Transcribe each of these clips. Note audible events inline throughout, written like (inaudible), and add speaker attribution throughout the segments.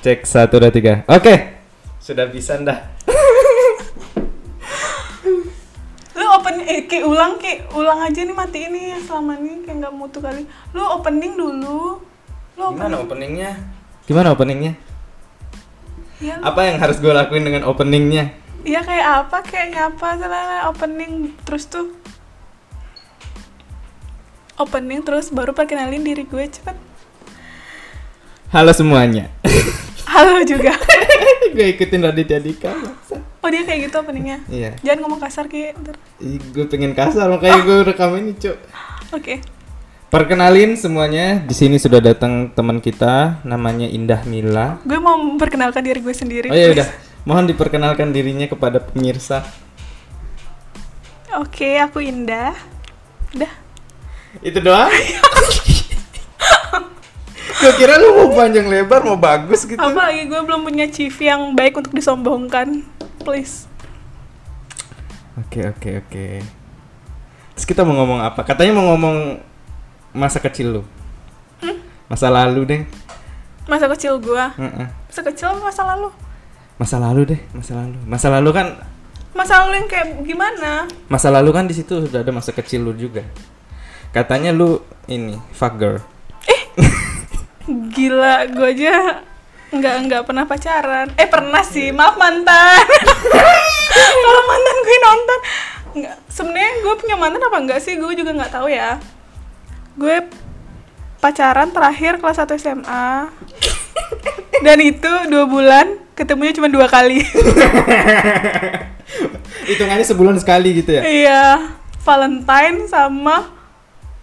Speaker 1: Cek satu dua tiga. Oke, sudah bisa ndah.
Speaker 2: Lu open eh, Ki, ulang Ki, ulang aja nih mati ini yang selama ini kayak nggak mutu kali. Lu opening dulu. Lu opening.
Speaker 1: Gimana openingnya? Gimana openingnya?
Speaker 2: Ya, lu-
Speaker 1: Apa yang harus gue lakuin dengan openingnya?
Speaker 2: ya kayak apa kayak nyapa salah opening terus tuh opening terus baru perkenalin diri gue cepet
Speaker 1: Halo (laughs) semuanya.
Speaker 2: halo juga (laughs)
Speaker 1: gue ikutin Raditya Dika. maksa.
Speaker 2: oh dia kayak gitu openingnya
Speaker 1: Iya.
Speaker 2: jangan ngomong kasar kayak ntar
Speaker 1: Ih, Gue pengen kasar makanya gue rekam ini, Cuk.
Speaker 2: oke
Speaker 1: Perkenalin semuanya, di sini sudah datang teman kita namanya Indah Mila.
Speaker 2: gue mau memperkenalkan diri gue sendiri
Speaker 1: Oh ya udah, mohon diperkenalkan dirinya kepada pemirsa.
Speaker 2: oke aku Indah udah
Speaker 1: Itu doang. (laughs) gue kira lu mau panjang lebar, mau bagus gitu.
Speaker 2: apa lagi gue belum punya CV yang baik untuk disombongkan please
Speaker 1: Oke, oke, oke. Terus kita mau ngomong apa? Katanya mau ngomong masa kecil lu. Masa lalu deh.
Speaker 2: masa kecil gue
Speaker 1: Heeh.
Speaker 2: masa kecil apa masa lalu
Speaker 1: Masa lalu deh, masa lalu. Masa lalu kan
Speaker 2: masa lalu yang kayak gimana
Speaker 1: masa lalu kan di situ sudah ada masa kecil lu juga. Katanya lu ini fuck girl.
Speaker 2: Gila, gue aja nggak nggak pernah pacaran. Eh pernah sih, maaf mantan. (laughs) Kalau mantan gue nonton, nggak. Sebenarnya gue punya mantan apa enggak sih? Gue juga nggak tahu ya. Gue pacaran terakhir kelas 1 SMA. Dan itu dua bulan, ketemunya cuma dua kali.
Speaker 1: Hitungannya sebulan sekali gitu ya.
Speaker 2: (laughs) Iya, Valentine sama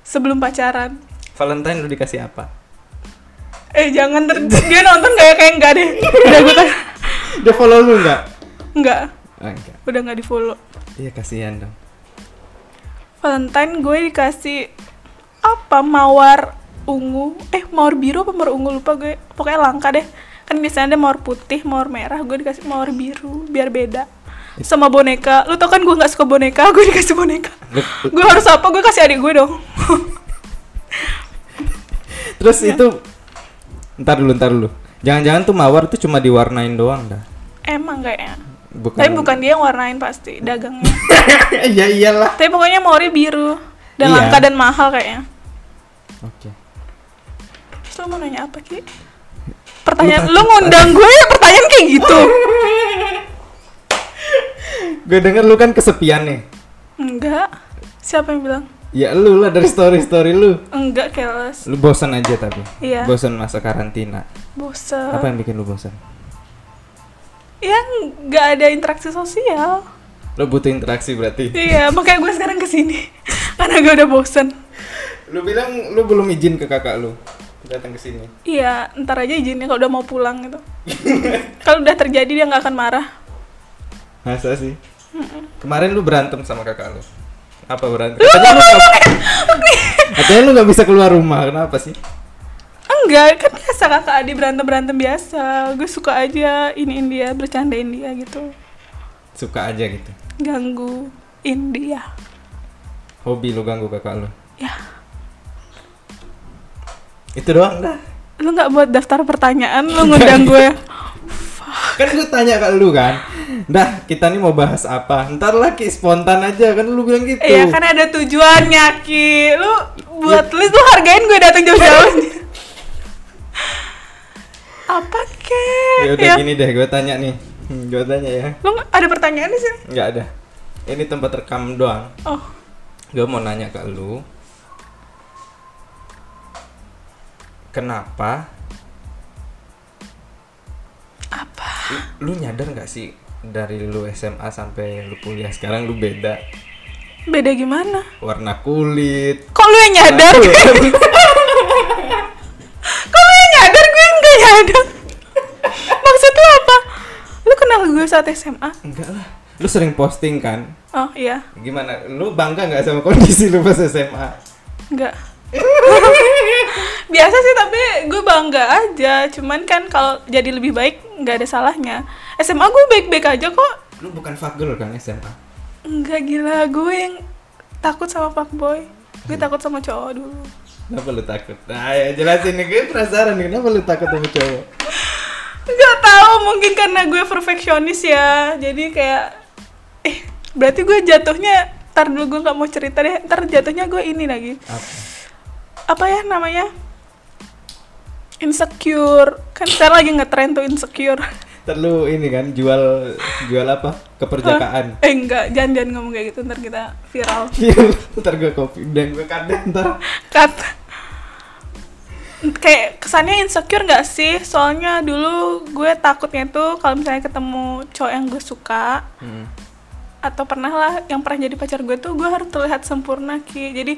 Speaker 2: sebelum pacaran.
Speaker 1: Valentine lu dikasih apa?
Speaker 2: Eh jangan ter- dia nonton kayak kayak enggak deh. Udah gue kan
Speaker 1: Dia follow lu nggak?
Speaker 2: enggak,
Speaker 1: Oh, enggak.
Speaker 2: udah nggak di follow.
Speaker 1: Iya kasihan dong.
Speaker 2: Valentine gue dikasih apa mawar ungu eh mawar biru apa mawar ungu lupa gue pokoknya langka deh kan biasanya ada mawar putih mawar merah gue dikasih mawar biru biar beda sama boneka lu tau kan gue nggak suka boneka gue dikasih boneka
Speaker 1: Lu-
Speaker 2: gue harus apa gue kasih adik gue dong
Speaker 1: Terus itu ntar dulu ntar dulu. Jangan-jangan tuh mawar tuh cuma diwarnain doang dah.
Speaker 2: emang kayaknya
Speaker 1: Eh, Bukan.
Speaker 2: tapi bukan dia yang warnain pasti dagangnya
Speaker 1: (laughs) ya iyalah.
Speaker 2: tapi pokoknya mawarnya biru dan
Speaker 1: Iya.
Speaker 2: langka dan mahal kayaknya
Speaker 1: Oke.
Speaker 2: terus lu mau nanya apa ki pertanyaan lu ngundang gue ya, pertanyaan kayak gitu
Speaker 1: Gue denger lu kan kesepian nih.
Speaker 2: Enggak. Siapa yang bilang?
Speaker 1: Ya lu lah dari story story lu.
Speaker 2: Enggak, keles.
Speaker 1: Lu bosan aja tapi.
Speaker 2: Iya.
Speaker 1: Bosan masa karantina. Apa
Speaker 2: Bosen.
Speaker 1: yang bikin lu bosan?
Speaker 2: Ya enggak ada interaksi sosial.
Speaker 1: Lu butuh interaksi berarti.
Speaker 2: iya, makanya gue sekarang kesini. (laughs) Karena gue udah bosen.
Speaker 1: Lu bilang lu belum izin ke kakak lu datang ke sini.
Speaker 2: Iya, ntar aja izinnya kalau udah mau pulang
Speaker 1: (laughs)
Speaker 2: gitu. kalau udah terjadi dia nggak akan marah.
Speaker 1: Masa sih? Kemarin lu berantem sama kakak lu. Apa berantem? Katanya lu gak, katanya lu gak bisa keluar rumah. Kenapa sih?
Speaker 2: Enggak, kan biasa kakak adik berantem-berantem biasa. Gue suka aja ini dia, bercandain dia gitu.
Speaker 1: Suka aja gitu.
Speaker 2: Ganggu India.
Speaker 1: Hobi lu ganggu kakak lu.
Speaker 2: Ya,
Speaker 1: Itu doang dah.
Speaker 2: lu nggak buat daftar pertanyaan, lu ngundang gue.
Speaker 1: gitu. Kan gue tanya ke lu kan. Dah, kita nih mau bahas apa? Ntar lagi spontan aja kan lu bilang gitu.
Speaker 2: Iya kan ada tujuannya Ki Lu
Speaker 1: Ya.
Speaker 2: buat list lu hargain gue datang
Speaker 1: (laughs)
Speaker 2: jauh-jauh Apa Kek?
Speaker 1: Ya udah
Speaker 2: Ya.
Speaker 1: gini deh, gue tanya nih. Hmm, gue tanya ya.
Speaker 2: Lu nggak- ada pertanyaan di sini?
Speaker 1: Nggak ada. Ini tempat rekam doang.
Speaker 2: Oh
Speaker 1: Gue mau nanya ke lu. Kenapa
Speaker 2: apa?
Speaker 1: lu nyadar nggak sih dari lu SMA sampai lu kuliah sekarang lu beda
Speaker 2: Beda gimana?
Speaker 1: warna kulit
Speaker 2: Kok lu yang nyadar?
Speaker 1: ya.
Speaker 2: Kok lu yang nyadar? Gue nggak
Speaker 1: (laughs)
Speaker 2: nyadar Maksud lu apa? Lu kenal gue saat SMA?
Speaker 1: (laughs) enggak lah lu sering posting kan
Speaker 2: Oh iya
Speaker 1: gimana lu bangga nggak sama kondisi lu pas SMA
Speaker 2: Enggak. (laughs) Biasa sih tapi gue bangga aja. Cuman kan kalau jadi lebih baik nggak ada salahnya. SMA gue baik-baik aja kok.
Speaker 1: lu bukan fuck girl kan SMA
Speaker 2: Enggak gila gue yang takut sama fuckboy. Gue takut sama cowok dulu.
Speaker 1: kenapa lu takut nah ya jelasin nih gue penasaran nih kenapa lu takut sama cowok
Speaker 2: mungkin karena gue perfeksionis ya jadi kayak eh berarti gue jatuhnya ntar dulu gue nggak mau cerita deh ntar jatuhnya gue ini lagi
Speaker 1: Apa?
Speaker 2: apa ya namanya insecure kan sekarang lagi ngetren tuh insecure
Speaker 1: Ntar lu ini kan jual jual apa? Keperjakaan. Iya,
Speaker 2: eh enggak jangan jangan ngomong kayak gitu ntar kita viral
Speaker 1: ntar gue kopi dan gue kadang ntar.
Speaker 2: cut kayak kesannya insecure nggak sih soalnya dulu gue takutnya tuh kalau misalnya ketemu cowok yang gue suka
Speaker 1: Hmm.
Speaker 2: atau pernah lah yang pernah jadi pacar gue tuh gue harus terlihat sempurna ki jadi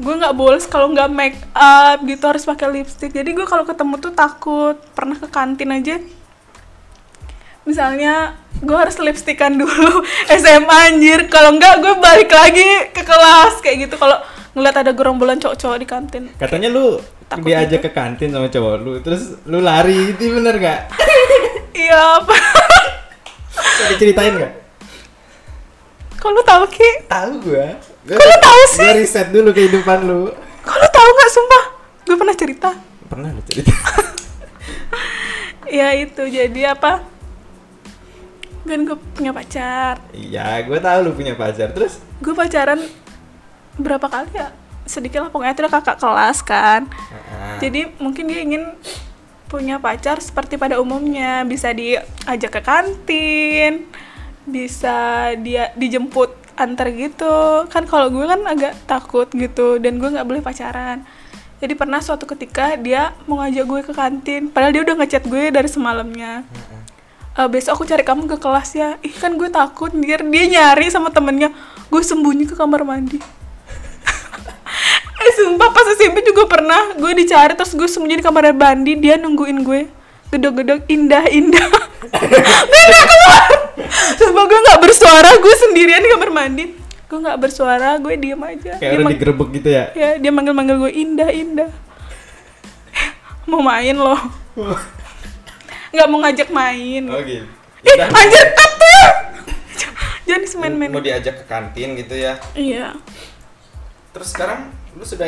Speaker 2: gue nggak boles kalau nggak make up gitu harus pakai lipstick jadi gue kalau ketemu tuh takut pernah ke kantin aja misalnya gue harus lipstikan dulu (laughs) SMA anjir kalau nggak gue balik lagi ke kelas kayak gitu kalau ngeliat ada gerombolan cowok-cowok di kantin (laughs)
Speaker 1: Katanya lu
Speaker 2: Takut
Speaker 1: diajak ke kantin sama cowok lu, terus lu lari gitu bener gak?
Speaker 2: iya apa (laughs)
Speaker 1: Bisa diceritain gak?
Speaker 2: kalau lu tahu ki
Speaker 1: Tahu gua. Gua-
Speaker 2: Kok lu tahu sih?
Speaker 1: Gua riset dulu kehidupan lu.
Speaker 2: kalau tahu nggak sumpah gue pernah cerita
Speaker 1: Pernah lu cerita?
Speaker 2: ya itu jadi apa kan gue punya pacar
Speaker 1: Iya, gua tahu lu punya pacar. Terus
Speaker 2: gue pacaran berapa kali ya sedikit lah pokoknya itu udah kakak kelas kan jadi mungkin dia ingin punya pacar seperti pada umumnya bisa diajak ke kantin bisa dia dijemput antar gitu kan kalau gue kan agak takut gitu dan gue nggak boleh pacaran jadi pernah suatu ketika dia mau ngajak gue ke kantin padahal dia udah ngechat gue dari semalamnya "Eh, besok aku cari kamu ke kelas ya ih kan gue takut ndir dia nyari sama temennya gue sembunyi ke kamar mandi (laughs) eh sumpah pas SMP juga pernah gue dicari terus gue sembunyi di kamar mandi dia nungguin gue gedog-gedog indah indah (laughs) gue gak keluar sumpah gue nggak bersuara gue sendirian di kamar mandi gue nggak bersuara gue diem aja
Speaker 1: kayak
Speaker 2: Dia
Speaker 1: orang
Speaker 2: mang-
Speaker 1: digerebek gitu
Speaker 2: (laughs)
Speaker 1: ya.
Speaker 2: ya dia manggil-manggil gue indah indah (laughs) mau main loh nggak mau ngajak main
Speaker 1: oh gitu.
Speaker 2: Ih,
Speaker 1: Udah.
Speaker 2: Eh, anjir cut tuh. Jangan semen-men.
Speaker 1: mau diajak ke kantin gitu ya.
Speaker 2: Iya.
Speaker 1: Terus sekarang lu sudah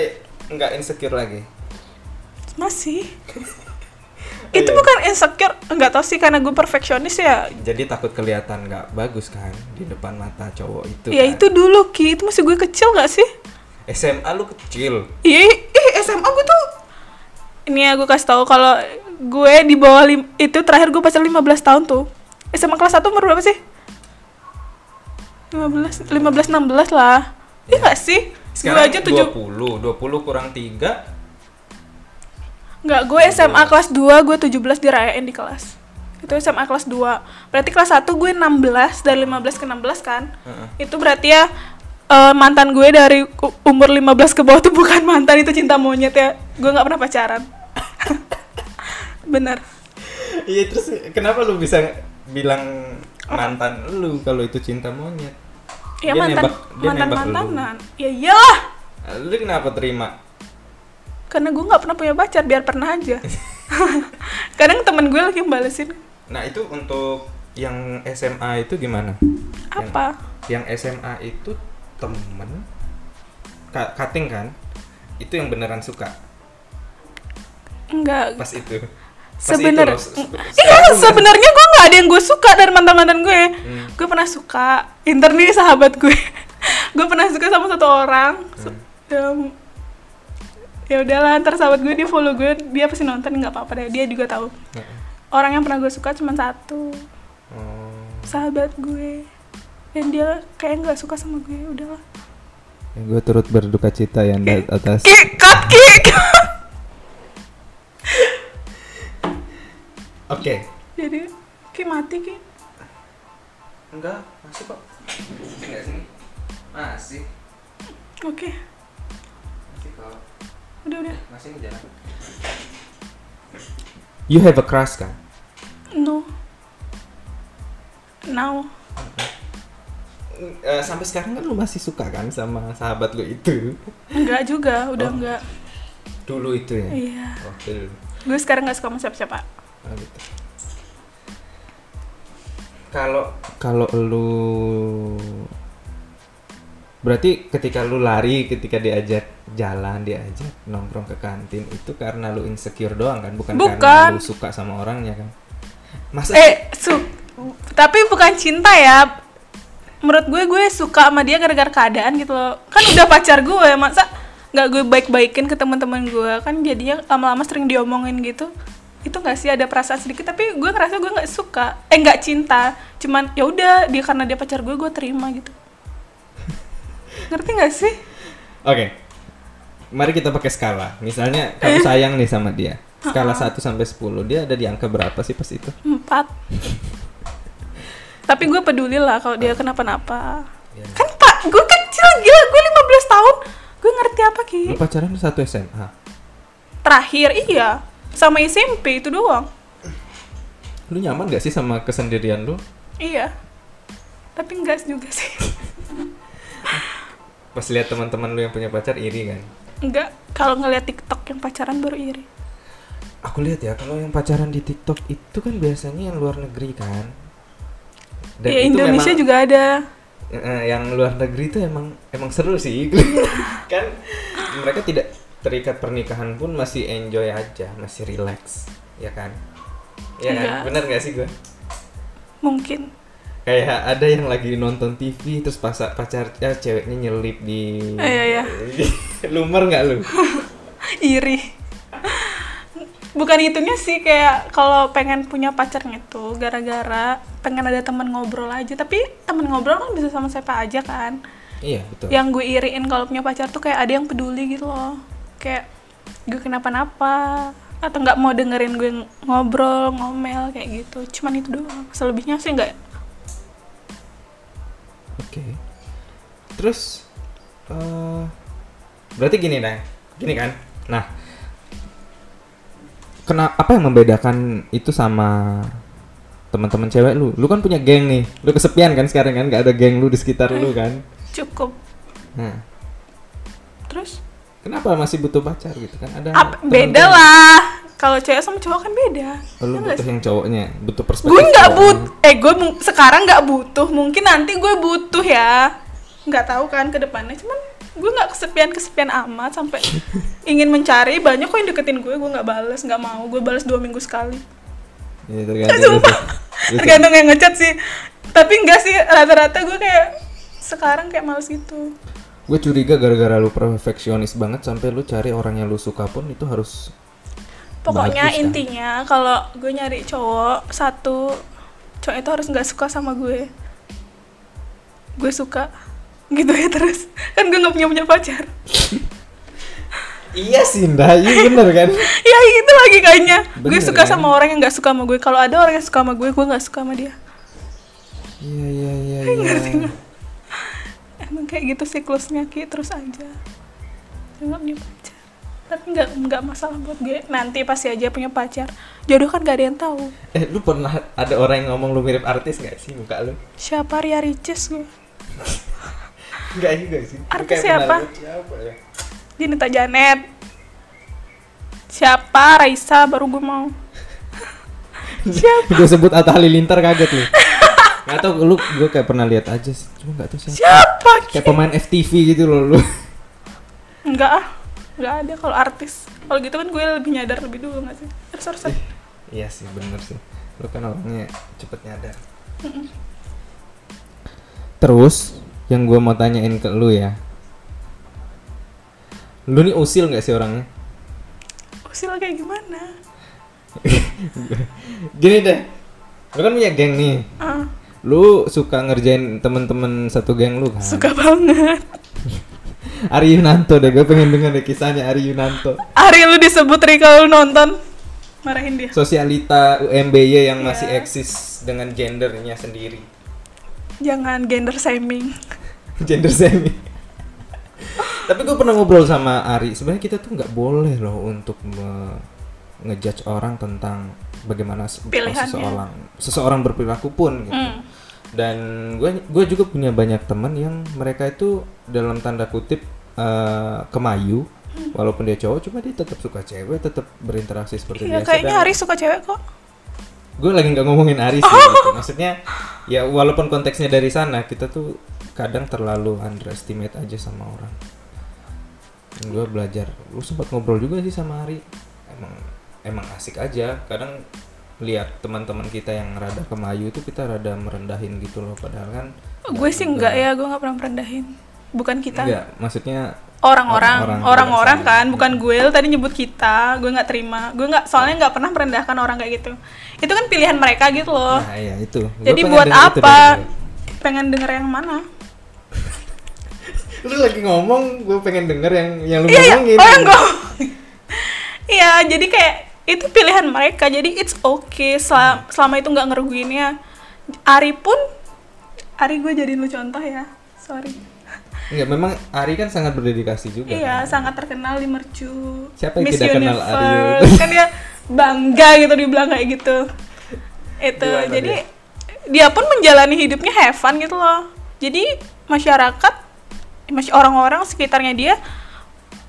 Speaker 1: nggak insecure lagi? (laughs)
Speaker 2: Masih. Itu
Speaker 1: Iya.
Speaker 2: bukan insecure, nggak tahu sih karena gue perfeksionis ya.
Speaker 1: Jadi takut kelihatan nggak bagus kan di depan mata cowok itu.
Speaker 2: ya
Speaker 1: kan?
Speaker 2: itu dulu Ki, itu masih gue kecil nggak sih?
Speaker 1: SMA lu kecil.
Speaker 2: Iya, ih SMA gue tuh ini ya gue kasih tahu kalau gue di bawah lim- itu terakhir gue pacar 15 tahun tuh. SMA kelas 1 umur berapa sih? 15 15 16 lah. Iya nggak sih? Gue
Speaker 1: Sekarang
Speaker 2: aja 7
Speaker 1: 20, 20 kurang 3
Speaker 2: Nggak, gue SMA kelas 2, gue 17 dirayain di kelas. Itu SMA kelas 2. Berarti kelas 1 gue 16, dari 15 ke 16 kan?
Speaker 1: Heeh.
Speaker 2: Itu berarti ya eh, mantan gue dari u- umur 15 ke bawah tuh bukan (laughs) mantan, itu cinta monyet ya. Gue nggak pernah pacaran. (laughs) Bener.
Speaker 1: (laughs) Iya terus kenapa lu bisa bilang mantan lu kalau itu cinta monyet?
Speaker 2: Ya
Speaker 1: Dia
Speaker 2: mantan,
Speaker 1: nembak- dia
Speaker 2: mantan
Speaker 1: nembak lu.
Speaker 2: mantanan. Ya iyalah.
Speaker 1: Lu kenapa terima?
Speaker 2: Karena gue nggak pernah punya pacar, biar pernah aja.
Speaker 1: (laughs)
Speaker 2: (laughs) Kadang temen gue lagi balesin
Speaker 1: Nah itu untuk yang SMA itu gimana?
Speaker 2: apa?
Speaker 1: Yang SMA itu temen ka- cutting kan? Itu yang beneran suka
Speaker 2: Enggak.
Speaker 1: pas itu. Pas itu
Speaker 2: Sebener-
Speaker 1: loh, se- se-
Speaker 2: Iya,
Speaker 1: sekarang kan lu-
Speaker 2: sebenarnya gue nggak ada yang gue suka dari mantan-mantan gue.
Speaker 1: Hmm.
Speaker 2: Gue pernah suka, Inter nih sahabat gue. (laughs) gue pernah suka sama satu orang.
Speaker 1: Hmm.
Speaker 2: Se- em, ya udahlah, ntar sahabat gue dia follow gue, dia pasti nonton nggak apa-apa deh. Dia juga tahu.
Speaker 1: Heeh.
Speaker 2: Orang yang pernah gue suka cuma satu,
Speaker 1: Oh,
Speaker 2: sahabat gue. Dan dia kayak nggak suka sama gue, udahlah.
Speaker 1: gue turut berduka cita yang atas
Speaker 2: Kick, cut, kick.
Speaker 1: Oke.
Speaker 2: (laughs) Jadi, ki mati ki.
Speaker 1: Enggak, masih kok. Masih enggak sini? Masih.
Speaker 2: Oke,
Speaker 1: Masih kok.
Speaker 2: udah udah.
Speaker 1: Masih ini jalan. You have a crush kan?
Speaker 2: No. Now.
Speaker 1: Mm, sampai sekarang kan lu masih suka kan sama sahabat lu itu
Speaker 2: Enggak juga, udah
Speaker 1: Oh.
Speaker 2: enggak.
Speaker 1: dulu itu ya
Speaker 2: Iya.
Speaker 1: waktu dulu
Speaker 2: Gue sekarang enggak suka sama siapa-siapa.
Speaker 1: Oh, gitu. kalau kalau lu berarti ketika lu lari ketika diajak jalan diajak nongkrong ke kantin itu karena lu insecure doang kan bukan,
Speaker 2: Bukan.
Speaker 1: karena lu suka sama orangnya kan Masa
Speaker 2: eh su tapi bukan cinta ya menurut gue gue suka sama dia gara-gara keadaan gitu loh kan udah pacar gue masa nggak gue baik-baikin ke teman-teman gue kan jadinya lama-lama sering diomongin gitu itu nggak sih ada perasaan sedikit tapi gue ngerasa gue nggak suka eh nggak cinta cuman ya udah dia karena dia pacar gue gue terima gitu ngerti nggak sih
Speaker 1: Oke. Mari kita pakai skala. Misalnya kamu
Speaker 2: Eh.
Speaker 1: sayang nih sama dia. Skala 1 sampai 10, dia ada di angka berapa sih pas itu?
Speaker 2: empat tapi gue peduli lah kalau dia
Speaker 1: Ah.
Speaker 2: kenapa-napa
Speaker 1: Iya.
Speaker 2: kan pak gue kecil gila gue 15 tahun gue ngerti apa ki
Speaker 1: Lu pacaran satu SMA.
Speaker 2: terakhir iya sama SMP itu doang
Speaker 1: Lu nyaman gak sih sama kesendirian lu?
Speaker 2: iya tapi enggak juga sih
Speaker 1: Pas lihat teman-teman lu yang punya pacar iri kan?
Speaker 2: enggak kalau ngeliat TikTok yang pacaran baru iri
Speaker 1: Aku lihat ya kalau yang pacaran di TikTok itu kan biasanya yang luar negeri kan.
Speaker 2: ya Indonesia
Speaker 1: memang-
Speaker 2: juga ada
Speaker 1: Eh, yang luar negeri itu emang emang seru sih (laughs) kan mereka tidak terikat pernikahan pun masih enjoy aja masih relax ya kan ya
Speaker 2: Enggak.
Speaker 1: kan bener gak sih gue
Speaker 2: mungkin
Speaker 1: kayak ada yang lagi nonton TV terus pacar pacar ya, ceweknya nyelip di
Speaker 2: Eh, iya,
Speaker 1: (laughs)
Speaker 2: iya.
Speaker 1: lumer nggak lu
Speaker 2: iri bukan itunya sih kayak kalau pengen punya pacarnya tuh gara-gara pengen ada teman ngobrol aja tapi teman ngobrol kan bisa sama siapa aja kan
Speaker 1: iya betul
Speaker 2: yang gue iriin kalau punya pacar tuh kayak ada yang peduli gitu loh kayak gue kenapa-napa atau nggak mau dengerin gue ng- ngobrol ngomel kayak gitu cuman itu doang selebihnya sih nggak
Speaker 1: Oke. Terus eh berarti gini nah, gini kan? Nah, kena apa yang membedakan itu sama teman-teman cewek lu? Lu kan punya geng nih. Lu kesepian kan sekarang kan? Gak ada geng lu di sekitar lu kan?
Speaker 2: cukup
Speaker 1: Nah,
Speaker 2: terus
Speaker 1: kenapa masih butuh pacar gitu kan? Ada
Speaker 2: ap-
Speaker 1: teman
Speaker 2: beda
Speaker 1: cewek.
Speaker 2: lah kalau cewek sama cowok kan beda
Speaker 1: Oh, Lu
Speaker 2: Ya nggak
Speaker 1: butuh yang cowoknya, butuh perspektif.
Speaker 2: gue nggak but
Speaker 1: cowoknya.
Speaker 2: eh gue mu- sekarang nggak butuh mungkin nanti gue butuh ya nggak tahu kan ke depannya cuman gue nggak kesepian kesepian
Speaker 1: (laughs)
Speaker 2: amat sampai ingin mencari banyak kok yang deketin gue gue nggak bales nggak mau gue bales dua minggu sekali
Speaker 1: Iya, tergantung.
Speaker 2: Sumpah.
Speaker 1: Lu- lu-
Speaker 2: tergantung yang ngechat sih tapi enggak sih rata-rata gue kayak sekarang kayak males gitu
Speaker 1: Gue curiga gara-gara lu perfeksionis banget sampai lu cari orang yang lu suka pun itu harus
Speaker 2: pokoknya
Speaker 1: Bagus, kan?
Speaker 2: intinya kalau gue nyari cowok satu cowok itu harus nggak suka sama gue gue suka gitu ya terus kan gue nggak punya punya pacar
Speaker 1: Iya sih, Nda.
Speaker 2: (laughs)
Speaker 1: Iya bener kan?
Speaker 2: ya itu lagi kayaknya gue
Speaker 1: Bener,
Speaker 2: suka
Speaker 1: kan?
Speaker 2: sama orang yang nggak suka sama gue kalau ada orang yang suka sama gue gue nggak suka sama dia
Speaker 1: Iya, iya, iya, iya.
Speaker 2: emang kayak gitu siklusnya ki terus aja gue nggak punya pacar tapi nggak nggak masalah buat gue nanti pasti aja punya pacar jodoh kan gak ada yang tahu
Speaker 1: Eh, lu pernah ada orang yang ngomong lu mirip artis gak sih muka lu?
Speaker 2: siapa Ria Ricis gue
Speaker 1: Enggak juga sih. Lu
Speaker 2: Artis
Speaker 1: kayak pernah
Speaker 2: siapa?
Speaker 1: liat Siapa ya?
Speaker 2: Dinita Janet siapa Raisa baru gue mau siapa
Speaker 1: gue sebut Atta Halilintar kaget
Speaker 2: (laughs)
Speaker 1: lu. Gak tau, lu gue kayak pernah lihat aja sih. Cuma gak tau siapa.
Speaker 2: siapa Ki?
Speaker 1: Kayak pemain FTV gitu loh lu.
Speaker 2: nggak ah nggak ada kalau artis kalau gitu kan gue lebih nyadar lebih dulu nggak sih Eh, harus harus harus.
Speaker 1: iya sih, bener sih. Lu kan orangnya cepet nyadar. Terus, yang gue mau tanyain ke lu ya. Lu nih usil gak sih orangnya?
Speaker 2: usil kayak gimana
Speaker 1: Gini deh. Lu kan punya geng nih.
Speaker 2: ah
Speaker 1: Lu suka ngerjain temen-temen satu geng lu kan?
Speaker 2: suka banget
Speaker 1: Ari Yunanto deh, gue pengen denger deh kisahnya Ari Yunanto.
Speaker 2: Ari lu disebut Ri kalau lu nonton marahin dia
Speaker 1: Sosialita UMBY yang masih eksis dengan gendernya sendiri.
Speaker 2: jangan gender shaming
Speaker 1: Gender semi. Tapi gue pernah ngobrol sama Ari, sebenarnya kita tuh nggak boleh loh untuk me- ngejudge orang tentang bagaimana se-
Speaker 2: Pilihannya.
Speaker 1: seseorang seseorang berperilaku pun gitu.
Speaker 2: Hmm.
Speaker 1: dan gue gue juga punya banyak teman yang mereka itu dalam tanda kutip eh, kemayu
Speaker 2: Hmm.
Speaker 1: walaupun dia cowok cuma dia tetap suka cewek tetap berinteraksi seperti biasa
Speaker 2: Iya, kayaknya
Speaker 1: dan
Speaker 2: Ari suka cewek kok.
Speaker 1: gue lagi nggak ngomongin Ari sih
Speaker 2: Oh.
Speaker 1: gitu. maksudnya ya walaupun konteksnya dari sana kita tuh kadang terlalu underestimate aja sama orang dan gue belajar lu sempat ngobrol juga sih sama Ari emang emang asik aja kadang lihat teman-teman kita yang rada kemayu itu kita rada merendahin gitu loh padahal kan
Speaker 2: gue sih enggak ya gue nggak pernah merendahin bukan kita
Speaker 1: enggak maksudnya Orang-orang,
Speaker 2: orang-orang orang-orang
Speaker 1: orang-orang.
Speaker 2: kan bukan gue Lu tadi nyebut kita gue nggak terima gue nggak soalnya nggak pernah merendahkan orang kayak gitu itu kan pilihan mereka gitu loh
Speaker 1: nah iya itu Gua
Speaker 2: jadi
Speaker 1: pengen
Speaker 2: buat
Speaker 1: denger itu
Speaker 2: apa
Speaker 1: dari
Speaker 2: pengen denger yang mana
Speaker 1: lu. lu lagi ngomong gue pengen denger yang yang lu
Speaker 2: iya
Speaker 1: ngomongin
Speaker 2: oh yang gue (laughs) iya jadi kayak itu pilihan mereka jadi it's okay selama, selama itu nggak ngerugiinnya Ari pun Ari gue jadi lu contoh ya sorry
Speaker 1: Enggak, memang Ari kan sangat berdedikasi juga
Speaker 2: iya sangat terkenal di mercu
Speaker 1: Siapa yang tidak kenal Ari?
Speaker 2: Universe. (laughs) kan dia bangga gitu dibilang kayak gitu itu
Speaker 1: Gimana
Speaker 2: jadi dia? pun menjalani hidupnya have fun gitu loh jadi masyarakat masih orang-orang sekitarnya dia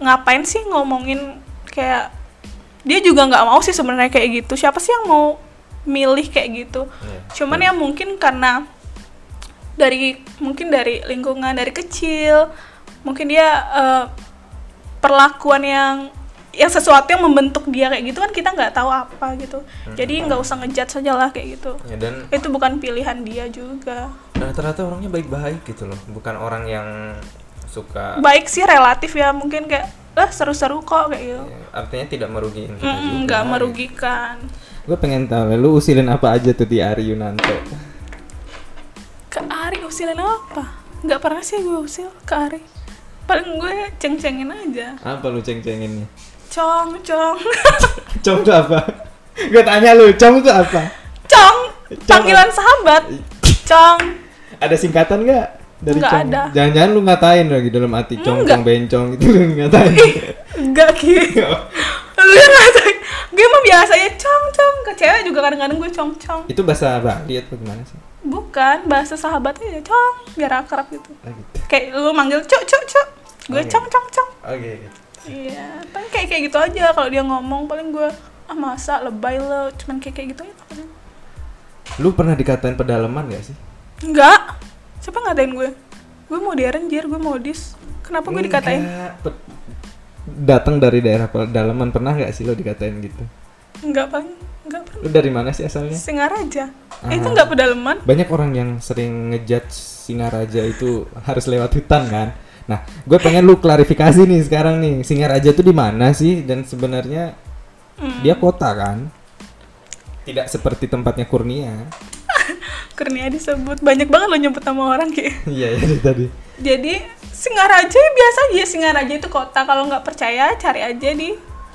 Speaker 2: ngapain sih ngomongin kayak dia juga nggak mau sih sebenarnya kayak gitu siapa sih yang mau milih kayak gitu
Speaker 1: Iya.
Speaker 2: cuman ya mungkin karena dari mungkin dari lingkungan dari kecil mungkin dia eh, perlakuan yang yang sesuatu yang membentuk dia kayak gitu kan kita nggak tahu apa gitu
Speaker 1: Hmm,
Speaker 2: jadi nggak usah ngejat saja lah kayak gitu
Speaker 1: Ya, dan
Speaker 2: itu bukan pilihan dia juga
Speaker 1: rata-rata orangnya baik-baik gitu loh bukan orang yang suka
Speaker 2: baik sih relatif ya mungkin kayak eh seru-seru kok kayak gitu
Speaker 1: ya, artinya tidak merugikan kita
Speaker 2: Mm-mm,
Speaker 1: juga.
Speaker 2: nggak merugikan
Speaker 1: gue pengen tahu lu usilin apa aja tuh di Ari Yunanto
Speaker 2: ke Ari usilin apa nggak pernah sih gue usil ke Ari paling gue ceng-cengin aja
Speaker 1: apa lu ceng-cenginnya
Speaker 2: cong cong (laughs)
Speaker 1: Cong itu apa? Gue tanya lu, Cong itu apa?
Speaker 2: cong
Speaker 1: Cong.
Speaker 2: panggilan sahabat cong
Speaker 1: Ada singkatan nggak dari
Speaker 2: Nggak
Speaker 1: Cong?
Speaker 2: ada.
Speaker 1: Jangan-jangan lu ngatain lagi dalam hati Cong,
Speaker 2: Nggak.
Speaker 1: Cong bencong gitu lu ngatain.
Speaker 2: enggak ki lu ngerasa gue mah biasanya cong cong ke cewek juga kadang-kadang gue cong cong
Speaker 1: itu bahasa Bali atau gimana sih?
Speaker 2: bukan bahasa sahabat aja cong biar akrab gitu
Speaker 1: Ah, gitu.
Speaker 2: kayak lu manggil cuk cuk cuk gue
Speaker 1: Oke.
Speaker 2: cong cong cong
Speaker 1: Oke.
Speaker 2: iya paling kayak kayak gitu aja kalau dia ngomong paling gue ah masa lebay lo cuman kayak kayak gitu aja paling.
Speaker 1: Lu pernah dikatain pedalaman gak sih?
Speaker 2: enggak siapa ngatain gue gue mau diarenjir gue mau dis kenapa gue dikatain
Speaker 1: Nggak. Pe- Datang dari daerah pedalaman pernah gak sih lu dikatain gitu?
Speaker 2: enggak paling enggak paling
Speaker 1: Lu dari mana sih asalnya?
Speaker 2: Singaraja Eh, itu
Speaker 1: Ah.
Speaker 2: enggak pedalaman
Speaker 1: Banyak orang yang sering ngejudge Singaraja itu harus lewat hutan kan? Nah, gue pengen lu klarifikasi nih sekarang nih. Singaraja itu di mana sih? Dan sebenarnya
Speaker 2: Hmm.
Speaker 1: dia kota kan? Tidak seperti tempatnya Kurnia. (laughs)
Speaker 2: Kurnia disebut banyak banget lo nyebut nama orang kayak
Speaker 1: Iya, itu tadi.
Speaker 2: jadi Singaraja ya biasa aja Singaraja itu kota kalau nggak percaya cari aja di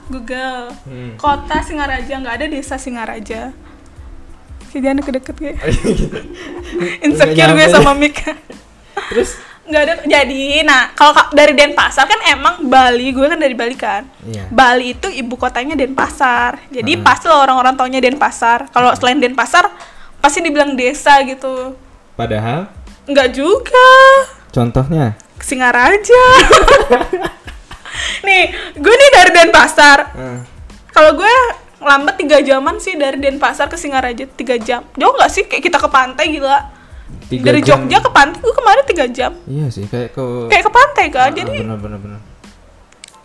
Speaker 2: Google
Speaker 1: Hmm.
Speaker 2: kota Singaraja nggak ada desa Singaraja Kayak jangan deket-deket gue (laughs) insecure gue
Speaker 1: Oh, iya. nyampe.
Speaker 2: sama Mika
Speaker 1: (laughs) Terus
Speaker 2: nggak ada jadi nah kalau ka- dari Denpasar kan emang Bali gue kan dari Bali kan
Speaker 1: Iya.
Speaker 2: Bali itu ibu kotanya Denpasar jadi
Speaker 1: Hmm.
Speaker 2: pasti lah orang-orang taunya Denpasar kalau selain Denpasar pasti dibilang desa gitu
Speaker 1: padahal
Speaker 2: nggak juga
Speaker 1: contohnya (laughs)
Speaker 2: Singaraja nih gue nih dari Denpasar
Speaker 1: eh,
Speaker 2: kalau gue lambat tiga jaman sih dari Denpasar ke Singaraja tiga jam jauh nggak sih kayak kita ke pantai gila
Speaker 1: tiga
Speaker 2: dari
Speaker 1: jam-
Speaker 2: Jogja ke pantai gue kemarin tiga jam
Speaker 1: Iya sih, kayak ke
Speaker 2: kayak ke pantai
Speaker 1: Ah.
Speaker 2: kan jadi
Speaker 1: benar-benar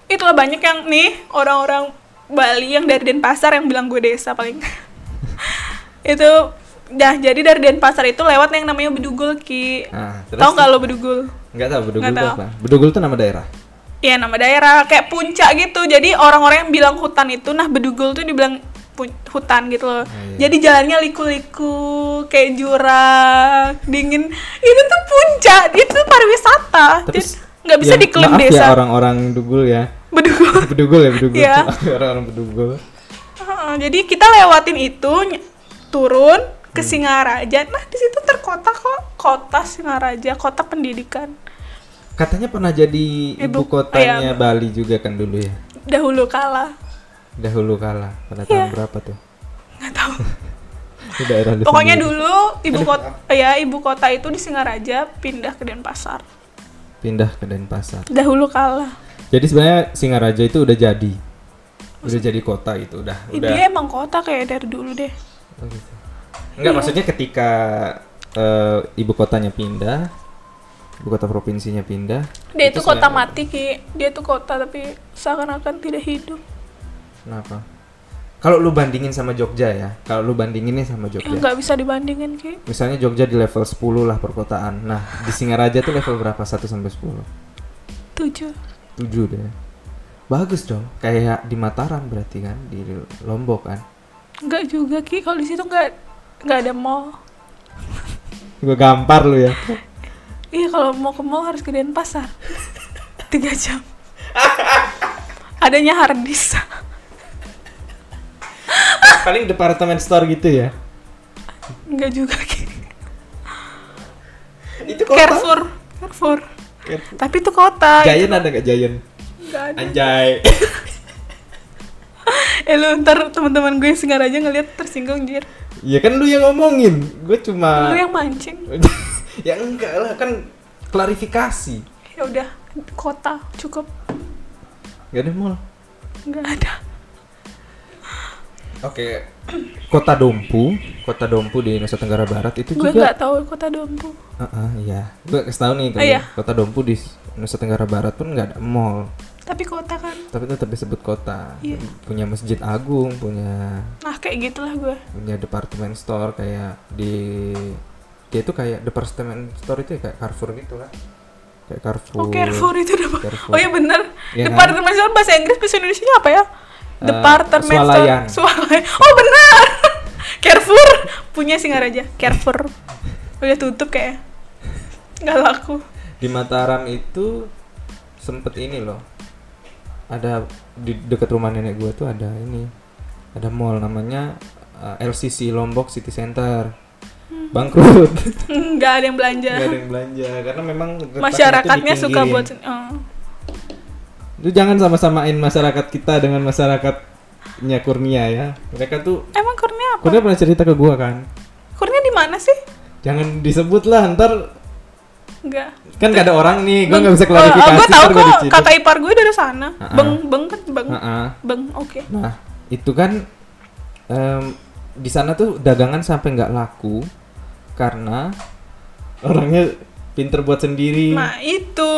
Speaker 2: itulah banyak yang nih orang-orang Bali yang dari Denpasar yang bilang gue desa paling (laughs) itu dah jadi dari Denpasar itu lewat yang namanya Bedugul ki
Speaker 1: Nah, terus
Speaker 2: tau nggak lo Bedugul
Speaker 1: Enggak tahu Bedugul
Speaker 2: Nggak
Speaker 1: itu
Speaker 2: tahu.
Speaker 1: apa? Bedugul itu nama daerah.
Speaker 2: ya nama daerah kayak puncak gitu jadi orang-orang yang bilang hutan itu nah Bedugul tuh dibilang pun- hutan gitu loh
Speaker 1: iya.
Speaker 2: jadi jalannya liku-liku kayak jurang dingin itu tuh puncak itu pariwisata
Speaker 1: Tapi
Speaker 2: Jadi
Speaker 1: s-
Speaker 2: nggak bisa
Speaker 1: ya,
Speaker 2: diklaim
Speaker 1: maaf
Speaker 2: desa
Speaker 1: ya orang-orang Bedugul ya. (laughs)
Speaker 2: Bedugul
Speaker 1: Bedugul ya, Bedugul.
Speaker 2: Iya.
Speaker 1: (laughs) orang-orang Bedugul.
Speaker 2: Heeh, jadi kita lewatin itu ny- turun ke
Speaker 1: Hmm.
Speaker 2: Singaraja. Nah, di situ terkota kok kota Singaraja, kota pendidikan.
Speaker 1: Katanya pernah jadi ibu
Speaker 2: Ibu- Iya.
Speaker 1: kotanya Bali juga kan dulu ya.
Speaker 2: Dahulu kala.
Speaker 1: Dahulu kala pada tahun berapa tuh?
Speaker 2: Iya. Nggak tahu.
Speaker 1: (laughs) Di daerah lu
Speaker 2: Pokoknya
Speaker 1: sendiri.
Speaker 2: dulu ibu kota ya ibu kota itu di Singaraja pindah ke Denpasar.
Speaker 1: pindah ke Denpasar.
Speaker 2: Dahulu kala.
Speaker 1: Jadi sebenarnya Singaraja itu udah jadi. Udah jadi kota gitu, udah
Speaker 2: Ih,
Speaker 1: udah.
Speaker 2: Oh, Dia emang kota kayak dari dulu deh.
Speaker 1: Oh, gitu. Enggak, maksudnya ketika eh, ibu kotanya pindah, ibu kota provinsinya pindah.
Speaker 2: Dia itu, kota
Speaker 1: sebenarnya-
Speaker 2: mati ki. Dia itu kota tapi seakan-akan tidak hidup.
Speaker 1: Kenapa? Kalau lu bandingin sama Jogja ya, kalau lu bandinginnya sama
Speaker 2: Ya,
Speaker 1: Jogja.
Speaker 2: nggak bisa dibandingin ki
Speaker 1: Misalnya Jogja di level 10 lah perkotaan. Nah, di Singaraja tuh level berapa? 1 sampai 10.
Speaker 2: tujuh
Speaker 1: 7 deh. Bagus dong. Kayak di Mataram berarti kan, di Lombok kan.
Speaker 2: nggak juga ki kalau di situ nggak nggak ada mall
Speaker 1: Gue gampar lu
Speaker 2: (laughs)
Speaker 1: ya.
Speaker 2: iya kalau mau ke mall harus
Speaker 1: (laughs)
Speaker 2: ke denpasar tiga jam adanya harddisk
Speaker 1: Paling departemen store gitu ya.
Speaker 2: (laughs) nggak juga ki
Speaker 1: Itu
Speaker 2: Carrefour Carrefour tapi itu kota
Speaker 1: Giant ada gak Giant?
Speaker 2: nggak ada
Speaker 1: Anjay.
Speaker 2: eh lu ntar teman-teman gue yang sengaja ngeliat tersinggung jir
Speaker 1: ya kan lu yang ngomongin. Gue cuma
Speaker 2: lu yang mancing
Speaker 1: (laughs) ya enggak lah kan klarifikasi.
Speaker 2: ya udah kota cukup
Speaker 1: Gak ada mall.
Speaker 2: nggak ada
Speaker 1: Oke. Kota Dompu, Kota Dompu di Nusa Tenggara Barat itu juga
Speaker 2: gue nggak tahu kota dompu
Speaker 1: Ah, ah, iya. Gue kasih tahu nih kalau
Speaker 2: Ah, iya.
Speaker 1: Kota Dompu di Nusa Tenggara Barat pun nggak ada mall,
Speaker 2: tapi kota kan
Speaker 1: tapi tetap disebut kota.
Speaker 2: Iya.
Speaker 1: Punya masjid agung, punya
Speaker 2: nah kayak gitulah gue
Speaker 1: punya department store kayak di dia itu kayak department store itu ya, kayak Carrefour gitu lah. Kayak Carrefour.
Speaker 2: Oh, Carrefour itu udah
Speaker 1: Carrefour.
Speaker 2: Oh iya bener.
Speaker 1: Iya kan?
Speaker 2: Departemen store bahasa Inggris bahasa Indonesia apa ya?
Speaker 1: Eh,
Speaker 2: Departemen
Speaker 1: swalayan.
Speaker 2: store. Swalayan. Oh bener. (laughs) Carrefour punya Singaraja. Carrefour udah tutup kayak nggak laku.
Speaker 1: Di Mataram itu sempet ini loh. Ada di dekat rumah nenek gue tuh ada ini. Ada mall namanya eh, LCC Lombok City Center.
Speaker 2: Hmm. (laughs)
Speaker 1: Bangkrut.
Speaker 2: Nggak ada yang belanja.
Speaker 1: nggak ada yang belanja karena memang letaknya itu
Speaker 2: Masyarakatnya suka
Speaker 1: dipinggirin.
Speaker 2: buat sen- oh.
Speaker 1: lu jangan sama-samain masyarakat kita dengan masyarakatnya Kurnia ya mereka tuh
Speaker 2: Emang kurnia apa?
Speaker 1: Kurnia pernah cerita ke gua kan
Speaker 2: Kurnia di mana sih?
Speaker 1: jangan disebut lah ntar
Speaker 2: Nggak.
Speaker 1: kan gak ada orang nih gua
Speaker 2: Beng-
Speaker 1: nggak bisa
Speaker 2: Oh,
Speaker 1: klarifikasi
Speaker 2: gue tahu
Speaker 1: ntar gua
Speaker 2: kok
Speaker 1: diciduk.
Speaker 2: kakak ipar gue dari sana.
Speaker 1: Ha-ha.
Speaker 2: Beng beng kan beng.
Speaker 1: Heeh.
Speaker 2: Beng oke.
Speaker 1: nah itu kan em, di sana tuh dagangan sampai nggak laku karena orangnya pinter buat sendiri
Speaker 2: Nah, itu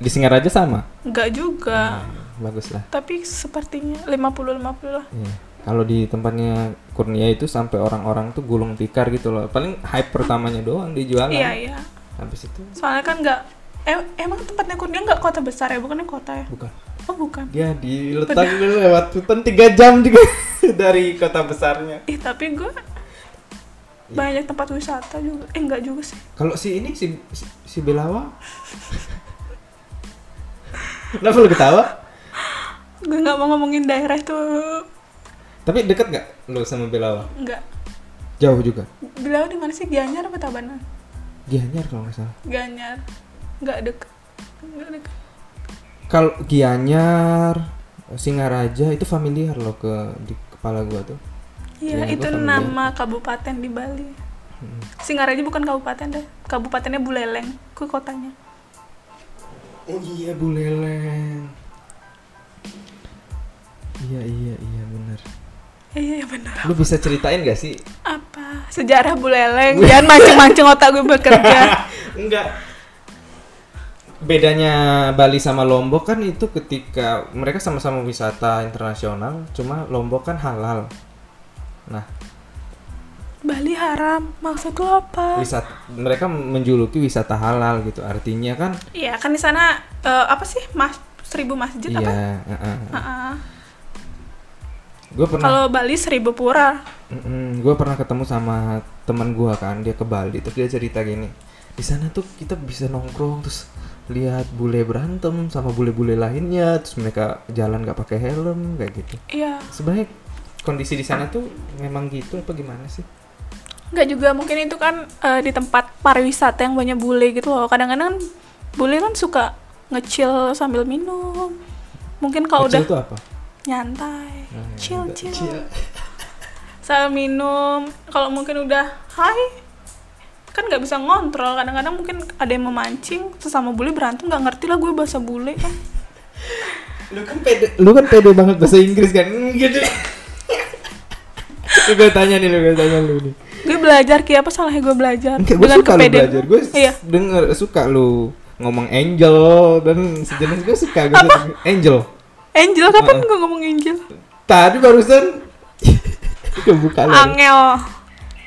Speaker 1: di Singaraja sama
Speaker 2: nggak juga.
Speaker 1: bagus lah
Speaker 2: tapi sepertinya 50-50 lah
Speaker 1: Iya. Kalau di tempatnya Kurnia itu sampai orang-orang tuh gulung tikar gitu loh. Paling hype pertamanya doang dijualan.
Speaker 2: iya iya
Speaker 1: Habis itu
Speaker 2: soalnya kan nggak em- emang tempatnya kurnia nggak kota besar ya bukannya kota ya
Speaker 1: bukan.
Speaker 2: oh bukan
Speaker 1: Dia diletak dulu lewat hutan 3 jam juga (laughs) dari kota besarnya.
Speaker 2: ih tapi gue banyak tempat wisata juga eh nggak juga sih
Speaker 1: Kalau si ini si si, si Belawa Kenapa lu ketawa?
Speaker 2: gue nggak mau ngomongin daerah itu
Speaker 1: Tapi deket gak lu sama Belawa?
Speaker 2: nggak
Speaker 1: Jauh juga.
Speaker 2: beliau di mana sih Gianyar apa Tabanan
Speaker 1: Gianyar kalau nggak salah.
Speaker 2: Gianyar nggak deket nggak deket
Speaker 1: Kalau Gianyar, Singaraja itu familiar loh ke di kepala gua tuh.
Speaker 2: Iya,
Speaker 1: Iya,
Speaker 2: itu
Speaker 1: gua pernah
Speaker 2: nama kabupaten di Bali.
Speaker 1: Hmm.
Speaker 2: Singaraja bukan kabupaten deh. Kabupatennya Buleleng, ku kotanya.
Speaker 1: Oh iya Bu Leleng. Iya iya iya benar.
Speaker 2: Iya, iya benar.
Speaker 1: Lu bisa ceritain gak sih?
Speaker 2: apa sejarah buleleng
Speaker 1: Iya.
Speaker 2: jangan mancing-mancing otak gue bekerja
Speaker 1: Enggak. Bedanya Bali sama Lombok kan itu ketika mereka sama-sama wisata internasional, cuma Lombok kan halal. Nah,
Speaker 2: Bali haram maksud lo apa
Speaker 1: wisata mereka menjuluki wisata halal gitu. Artinya kan
Speaker 2: iya kan di sana eh, apa sih mas seribu masjid apa
Speaker 1: iya, heeh.
Speaker 2: Ah, ah.
Speaker 1: Gue pernah
Speaker 2: kalau Bali seribu pura
Speaker 1: gue pernah ketemu sama teman gue kan dia ke Bali terus dia cerita gini di sana tuh kita bisa nongkrong terus lihat bule berantem sama bule-bule lainnya terus mereka jalan nggak pakai helm kayak gitu
Speaker 2: iya
Speaker 1: sebenarnya kondisi di sana tuh memang gitu apa gimana sih
Speaker 2: nggak juga mungkin itu kan eh, di tempat pariwisata yang banyak bule gitu loh kadang-kadang kan bule kan suka ngecil sambil minum mungkin kalau
Speaker 1: Kecil
Speaker 2: udah
Speaker 1: tuh apa
Speaker 2: nyantai
Speaker 1: Nah, ya,
Speaker 2: chill
Speaker 1: udah,
Speaker 2: chill sambil minum kalau mungkin udah hai kan nggak bisa ngontrol kadang-kadang mungkin ada yang memancing sesama bule berantem nggak ngerti lah gue bahasa bule kan
Speaker 1: lu kan pede lu kan pede banget bahasa Inggris kan Mm, gitu lu gue tanya nih lu gue tanya lu nih (laughs)
Speaker 2: gue belajar ki apa salahnya gue belajar
Speaker 1: Enggak, gue suka lu
Speaker 2: kepedean.
Speaker 1: belajar Gue s-
Speaker 2: iya
Speaker 1: denger, suka lu ngomong angel Dan sejenis gue suka gue suka. Angel
Speaker 2: angel kapan gue ngomong angel
Speaker 1: Tadi barusan (laughs) kebuka lagi.
Speaker 2: Angel.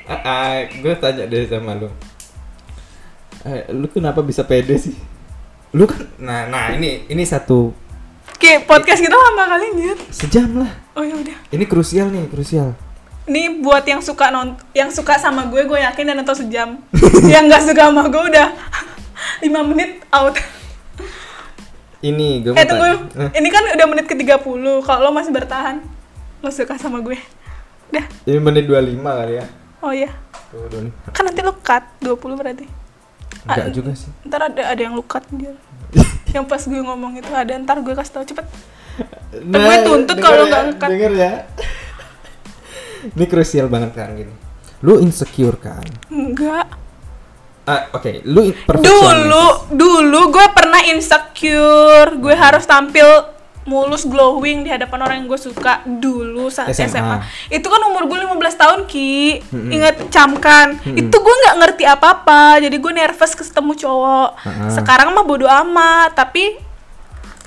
Speaker 1: Ah, ah, gue tanya deh sama lu. Eh, lu kenapa bisa pede sih? Lu kan nah nah ini ini satu
Speaker 2: Oke, podcast kita lama kali nyet.
Speaker 1: sejam lah.
Speaker 2: Oh ya udah.
Speaker 1: Ini krusial nih, krusial.
Speaker 2: Ini buat yang suka nont yang suka sama gue, gue yakin dan nonton sejam. (laughs) yang nggak suka sama gue udah (laughs) 5 menit out.
Speaker 1: Ini gue mau
Speaker 2: eh tunggu,
Speaker 1: tanya. Eh,
Speaker 2: ini kan udah menit ke-30. Kalau lo masih bertahan, lo suka sama gue. Dah.
Speaker 1: Ini menit 25 kali ya.
Speaker 2: Oh iya.
Speaker 1: Tuh, Doni.
Speaker 2: Kan nanti lo cut 20 berarti.
Speaker 1: Enggak
Speaker 2: Ah,
Speaker 1: juga sih.
Speaker 2: Ntar ada ada yang lo cut dia.
Speaker 1: (laughs)
Speaker 2: yang pas gue ngomong itu ada, ntar gue kasih tau cepet. gue tuntut
Speaker 1: denger
Speaker 2: kalau
Speaker 1: ya,
Speaker 2: nggak ngekat.
Speaker 1: Denger ya. ini krusial banget kan gini. Lu insecure kan?
Speaker 2: Enggak.
Speaker 1: Ah, oke, lu in- perfeksionis.
Speaker 2: Dulu, dulu gue pernah insecure. Gue
Speaker 1: Hmm.
Speaker 2: harus tampil mulus glowing di hadapan orang yang gue suka dulu saat SMA.
Speaker 1: SMA.
Speaker 2: Itu kan umur gue 15 tahun, Ki.
Speaker 1: Hmm.
Speaker 2: Ingat camkan. Itu gue nggak ngerti apa-apa. Jadi gue nervous ketemu cowok.
Speaker 1: Ah.
Speaker 2: Sekarang mah bodo amat, tapi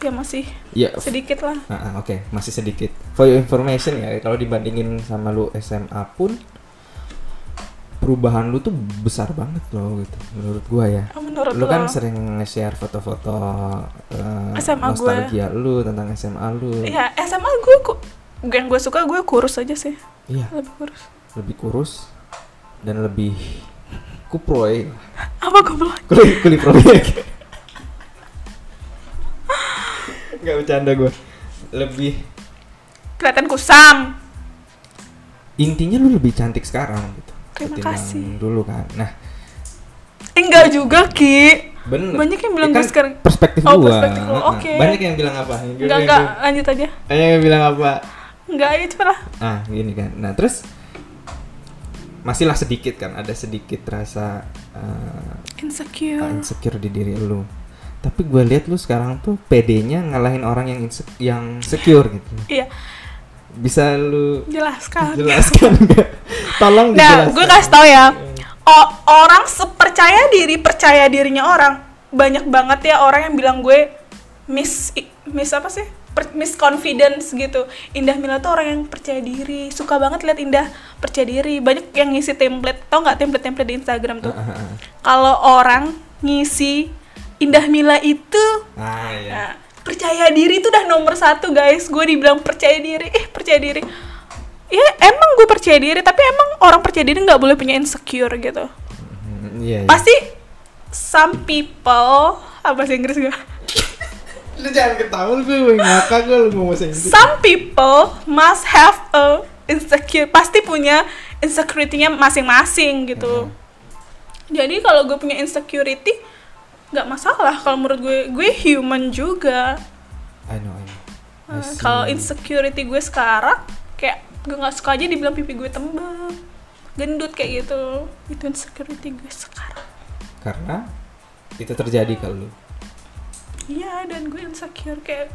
Speaker 2: ya masih
Speaker 1: Ya, f-
Speaker 2: sedikit lah.
Speaker 1: ah, ah, oke, masih sedikit. For your information ya, kalau dibandingin sama lu SMA pun perubahan lu tuh besar banget loh gitu menurut gua ya.
Speaker 2: Oh, menurut
Speaker 1: lu kan
Speaker 2: lo.
Speaker 1: sering nge-share foto-foto eh,
Speaker 2: SMA gue.
Speaker 1: nostalgia lu tentang SMA lu.
Speaker 2: Ya, SMA gue ku- yang gue suka gue kurus aja sih.
Speaker 1: Iya,
Speaker 2: Lebih kurus.
Speaker 1: lebih kurus dan lebih kuproy. (laughs)
Speaker 2: Apa goblok?
Speaker 1: Kuli kuli proyek. Enggak bercanda gua. Lebih
Speaker 2: Kelihatan kusam.
Speaker 1: intinya lu lebih cantik sekarang gitu.
Speaker 2: Terima
Speaker 1: ketimbang
Speaker 2: kasih.
Speaker 1: Dulu kan. Nah,
Speaker 2: Eh, enggak juga, Ki.
Speaker 1: bener.
Speaker 2: Banyak yang bilang
Speaker 1: Ya
Speaker 2: gue sekarang-
Speaker 1: perspektif
Speaker 2: Oh,
Speaker 1: gua.
Speaker 2: perspektif lu,
Speaker 1: Heeh.
Speaker 2: oke.
Speaker 1: Banyak yang bilang apa? Yang
Speaker 2: Enggak,
Speaker 1: bilang-
Speaker 2: enggak, lanjut aja.
Speaker 1: Banyak yang bilang apa?
Speaker 2: Enggak, ya ayo cepet lah.
Speaker 1: Ah, gini kan. Nah, terus masihlah sedikit kan ada sedikit rasa eh,
Speaker 2: Insecure.
Speaker 1: uh, insecure di diri lu tapi gue lihat lu sekarang tuh PD-nya ngalahin orang yang inse- yang secure gitu
Speaker 2: Iya,
Speaker 1: bisa lu
Speaker 2: jelaskan.
Speaker 1: jelaskan nggak tolong
Speaker 2: Nah,
Speaker 1: dijelaskan
Speaker 2: gue kasih tau ya. O- orang sepercaya diri percaya dirinya orang. Banyak banget ya orang yang bilang gue miss i- miss apa sih? Per- miss confidence gitu. Indah Mila tuh orang yang percaya diri, suka banget lihat Indah percaya diri. Banyak yang ngisi template, tau nggak template-template di Instagram tuh?
Speaker 1: Ah, ah, ah.
Speaker 2: Kalau orang ngisi Indah Mila itu
Speaker 1: ah iya
Speaker 2: Nah, percaya diri itu udah nomor satu guys. Gue dibilang percaya diri, eh percaya diri. Ya emang gue percaya diri, tapi emang orang percaya diri nggak boleh punya insecure gitu.
Speaker 1: Hmm, iya, iya.
Speaker 2: Pasti some people apa sih Inggris gue?
Speaker 1: lu jangan ketawa gue mau ngakak gue lu mau bahasa Inggris
Speaker 2: Some people must have a insecure. Pasti punya insecurity-nya masing-masing gitu. Jadi kalau gue punya insecurity nggak masalah kalau menurut gue gue human juga
Speaker 1: I know I know I
Speaker 2: Uh,
Speaker 1: see.
Speaker 2: kalau insecurity gue sekarang kayak gue nggak suka aja dibilang pipi gue tembem gendut kayak gitu itu insecurity gue sekarang
Speaker 1: karena itu terjadi kalau lu
Speaker 2: iya dan gue insecure kayak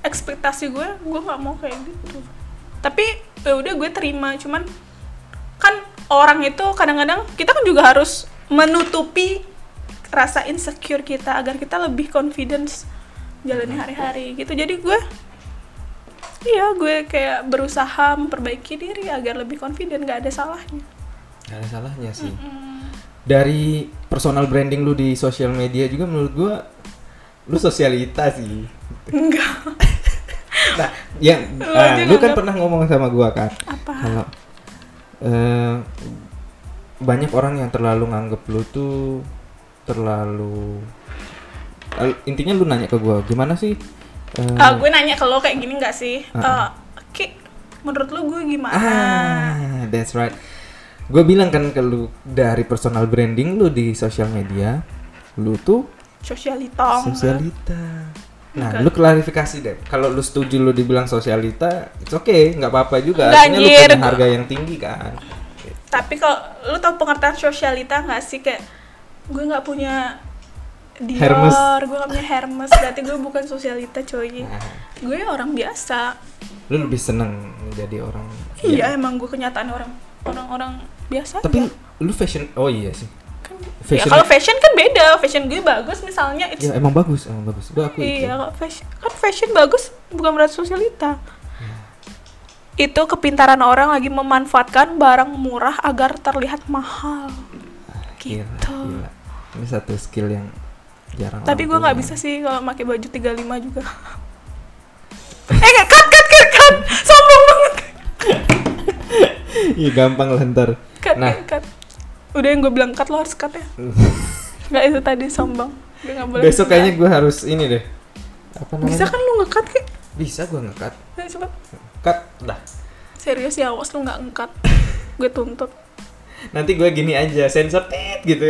Speaker 2: ekspektasi gue gue nggak mau kayak gitu tapi ya udah gue terima cuman kan orang itu kadang-kadang kita kan juga harus menutupi rasa insecure kita agar kita lebih confidence jalani hari-hari gitu jadi gue iya gue kayak berusaha memperbaiki diri agar lebih confident gak ada salahnya
Speaker 1: gak ada salahnya sih dari personal branding lu di sosial media juga menurut gue lu sosialita sih
Speaker 2: enggak
Speaker 1: (laughs) nah yang
Speaker 2: Lu
Speaker 1: ah,
Speaker 2: aja
Speaker 1: lu kan
Speaker 2: nganggap-
Speaker 1: pernah ngomong sama gua kan
Speaker 2: apa
Speaker 1: kalau eh, banyak orang yang terlalu nganggep lu tuh terlalu Eh, intinya lu nanya ke gua gimana sih eh,
Speaker 2: Ah, gue nanya ke lo kayak gini nggak sih Eh,
Speaker 1: Ah.
Speaker 2: Ki, menurut lo gue gimana
Speaker 1: ah that's right gue bilang kan ke lu dari personal branding lu di sosial media lu tuh
Speaker 2: sosialitong
Speaker 1: sosialita nah lu klarifikasi deh kalau lu setuju lu dibilang sosialita it's okay nggak apa-apa juga
Speaker 2: Nggak,
Speaker 1: artinya lu
Speaker 2: anjir.
Speaker 1: punya harga yang tinggi kan
Speaker 2: tapi kalau lu tau pengertian sosialita nggak sih kayak gue nggak punya Dior,
Speaker 1: Hermes.
Speaker 2: gue nggak punya Hermes, berarti gue bukan sosialita coy.
Speaker 1: Nah,
Speaker 2: Gue orang biasa.
Speaker 1: lu lebih seneng menjadi orang
Speaker 2: Iya emang gue kenyataan orang orang orang biasa.
Speaker 1: tapi
Speaker 2: aja.
Speaker 1: lu fashion oh iya sih
Speaker 2: Kan- ya
Speaker 1: fashion-
Speaker 2: kalau fashion kan beda, fashion gue bagus misalnya. It's,
Speaker 1: ya emang bagus emang bagus gua aku
Speaker 2: kan iya kalau fashion kan fashion bagus bukan berarti sosialita. itu kepintaran orang lagi memanfaatkan barang murah agar terlihat mahal.
Speaker 1: Gila,
Speaker 2: Gitu.
Speaker 1: gila. Ini satu skill yang jarang. orang
Speaker 2: Tapi gue nggak
Speaker 1: punya. (laughs)
Speaker 2: bisa sih kalau pakai baju 35 juga. (laughs) eh nggak, cut cut cut cut, sombong banget.
Speaker 1: Iya gampang lah ntar.
Speaker 2: Cut
Speaker 1: Nah.
Speaker 2: cut, cut. Udah yang gue bilang cut lo harus
Speaker 1: (laughs)
Speaker 2: cut ya. Nggak itu tadi sombong. Gue nggak boleh.
Speaker 1: Besok kayaknya gue harus ini deh. Apa namanya?
Speaker 2: Bisa kan lu ngekat kayak?
Speaker 1: Bisa gue ngekat.
Speaker 2: Ayo, Coba.
Speaker 1: Cut lah.
Speaker 2: Serius ya awas lu nggak ngekat. gue tuntut.
Speaker 1: Nanti gue gini aja sensor tit gitu.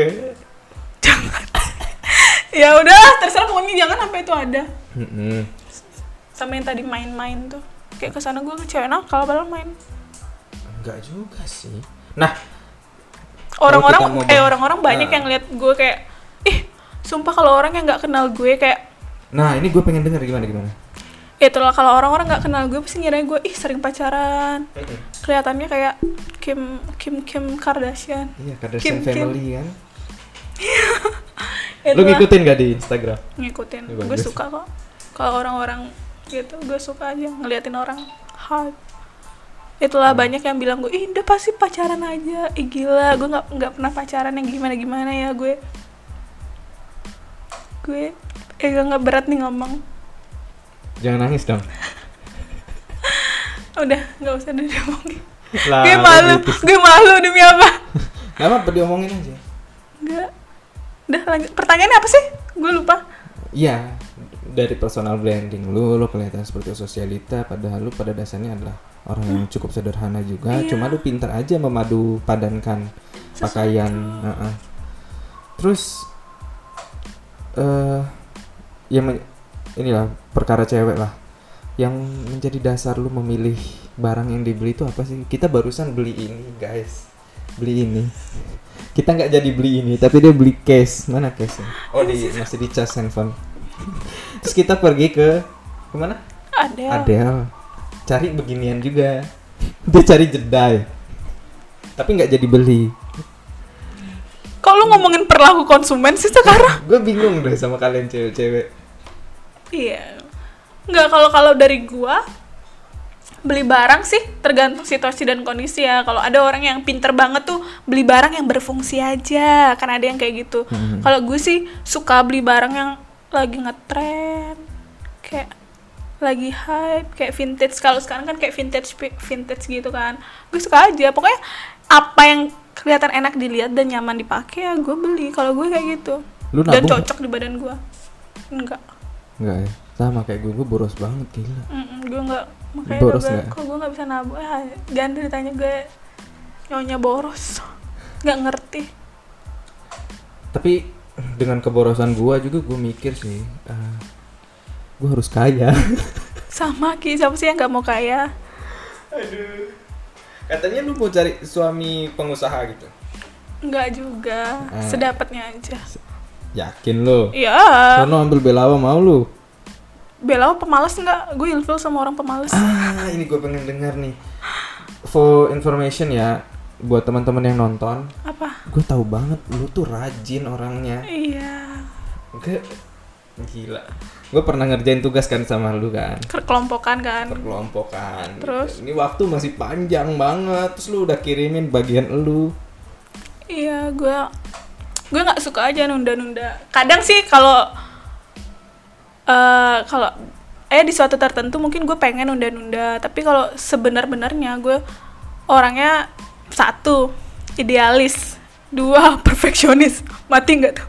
Speaker 2: Ya udah, terserah pokoknya jangan sampai itu ada.
Speaker 1: Mm-mm.
Speaker 2: Sama yang tadi main-main tuh. Kayak kesana gue ke cewek nakal padahal main.
Speaker 1: Enggak juga sih. Nah, Kalau
Speaker 2: Orang-orang
Speaker 1: Oh, kita mau
Speaker 2: eh
Speaker 1: bahas-
Speaker 2: orang-orang banyak
Speaker 1: Ah.
Speaker 2: yang lihat gue kayak ih, sumpah kalau orang yang nggak kenal gue kayak
Speaker 1: nah ini gue pengen dengar gimana gimana.
Speaker 2: ya itulah kalau orang-orang nggak kenal gue pasti ngiranya gue ih sering pacaran. Kelihatannya kayak Kim Kim Kim Kardashian.
Speaker 1: Iya, Kardashian
Speaker 2: Kim, Kim.
Speaker 1: family kan.
Speaker 2: Ya
Speaker 1: Lu
Speaker 2: itulah,
Speaker 1: ngikutin gak di Instagram?
Speaker 2: ngikutin.
Speaker 1: Ya,
Speaker 2: Gue
Speaker 1: bagus.
Speaker 2: suka kok. Kalau orang-orang gitu gue suka aja ngeliatin orang hype.
Speaker 1: Hmm.
Speaker 2: Itulah banyak yang bilang gue, "Ih, udah pasti pacaran aja." Ih, gila, gue nggak nggak pernah pacaran yang gimana-gimana ya gue. Gue eh gak nggak berat nih ngomong.
Speaker 1: Jangan nangis dong.
Speaker 2: Udah, nggak usah deh diomongin.
Speaker 1: Lah,
Speaker 2: gue malu,
Speaker 1: gitu.
Speaker 2: gue malu demi apa?
Speaker 1: Gak apa-apa diomongin aja.
Speaker 2: Enggak. Udah lanjut. Pertanyaannya apa sih? Gue lupa.
Speaker 1: Iya, dari personal branding lu, lu kelihatan seperti sosialita, padahal lu pada dasarnya adalah orang yang cukup sederhana juga,
Speaker 2: Iya.
Speaker 1: cuma lu pintar aja memadu padankan pakaian. Heeh. Terus, eh ya men- inilah perkara cewek lah, yang menjadi dasar lu memilih barang yang dibeli itu apa sih? Kita barusan beli ini, guys, beli ini. Kita nggak jadi beli ini, tapi dia beli case. Mana case-nya? Oh, di, masih di cas handphone. Terus kita pergi ke kemana?
Speaker 2: Ada.
Speaker 1: Adele. Cari beginian juga. (laughs) Dia cari jedai. Tapi nggak jadi beli.
Speaker 2: Kok lu ngomongin perlaku konsumen sih sekarang?
Speaker 1: Gue bingung deh sama kalian cewek-cewek.
Speaker 2: Iya. Nggak kalau kalau dari gua beli barang sih tergantung situasi dan kondisi ya. Kalau ada orang yang pinter banget tuh beli barang yang berfungsi aja. Kan ada yang kayak gitu.
Speaker 1: Mhm.
Speaker 2: Kalau gue sih suka beli barang yang lagi ngetren, kayak lagi hype, kayak vintage. Kalau sekarang kan kayak vintage pi- vintage gitu kan. Gue suka aja. Pokoknya apa yang kelihatan enak dilihat dan nyaman dipakai ya gue beli. Kalau gue kayak gitu.
Speaker 1: Lu
Speaker 2: dan
Speaker 1: nabung nggak?
Speaker 2: cocok di badan gue. Enggak.
Speaker 1: Enggak ya? Sama kayak gue, gue boros banget gila.
Speaker 2: Mm-mm, gue nggak makanya
Speaker 1: Boros
Speaker 2: gue,
Speaker 1: nggak?
Speaker 2: kok gue nggak bisa nabung ah, jangan ditanya gue nyonya boros nggak ngerti
Speaker 1: Tapi dengan keborosan gue juga gue mikir sih, eh, gue harus kaya. (laughs)
Speaker 2: sama ki siapa sih yang nggak mau kaya
Speaker 1: Aduh. Katanya lu mau cari suami pengusaha gitu.
Speaker 2: nggak juga
Speaker 1: Eh.
Speaker 2: sedapatnya aja
Speaker 1: Yakin lu?
Speaker 2: iya
Speaker 1: Sono ambil belawa mau lu?
Speaker 2: Bella pemalas nggak gue ilfil sama orang pemalas
Speaker 1: Ah, ini gue pengen dengar nih. For information ya, buat teman-teman yang nonton,
Speaker 2: apa
Speaker 1: gue tahu banget lu tuh rajin orangnya.
Speaker 2: iya
Speaker 1: Gue gila. Gue pernah ngerjain tugas kan sama lu kan,
Speaker 2: kekelompokan kan
Speaker 1: perkelompokan.
Speaker 2: Terus?
Speaker 1: Ini waktu masih panjang banget, terus lu udah kirimin bagian lu.
Speaker 2: iya gue gue nggak suka aja nunda-nunda kadang sih kalau eh kalau eh di suatu tertentu mungkin gue pengen nunda-nunda tapi kalau sebenar-benarnya gue orangnya satu idealis dua (laughs) perfeksionis mati nggak tuh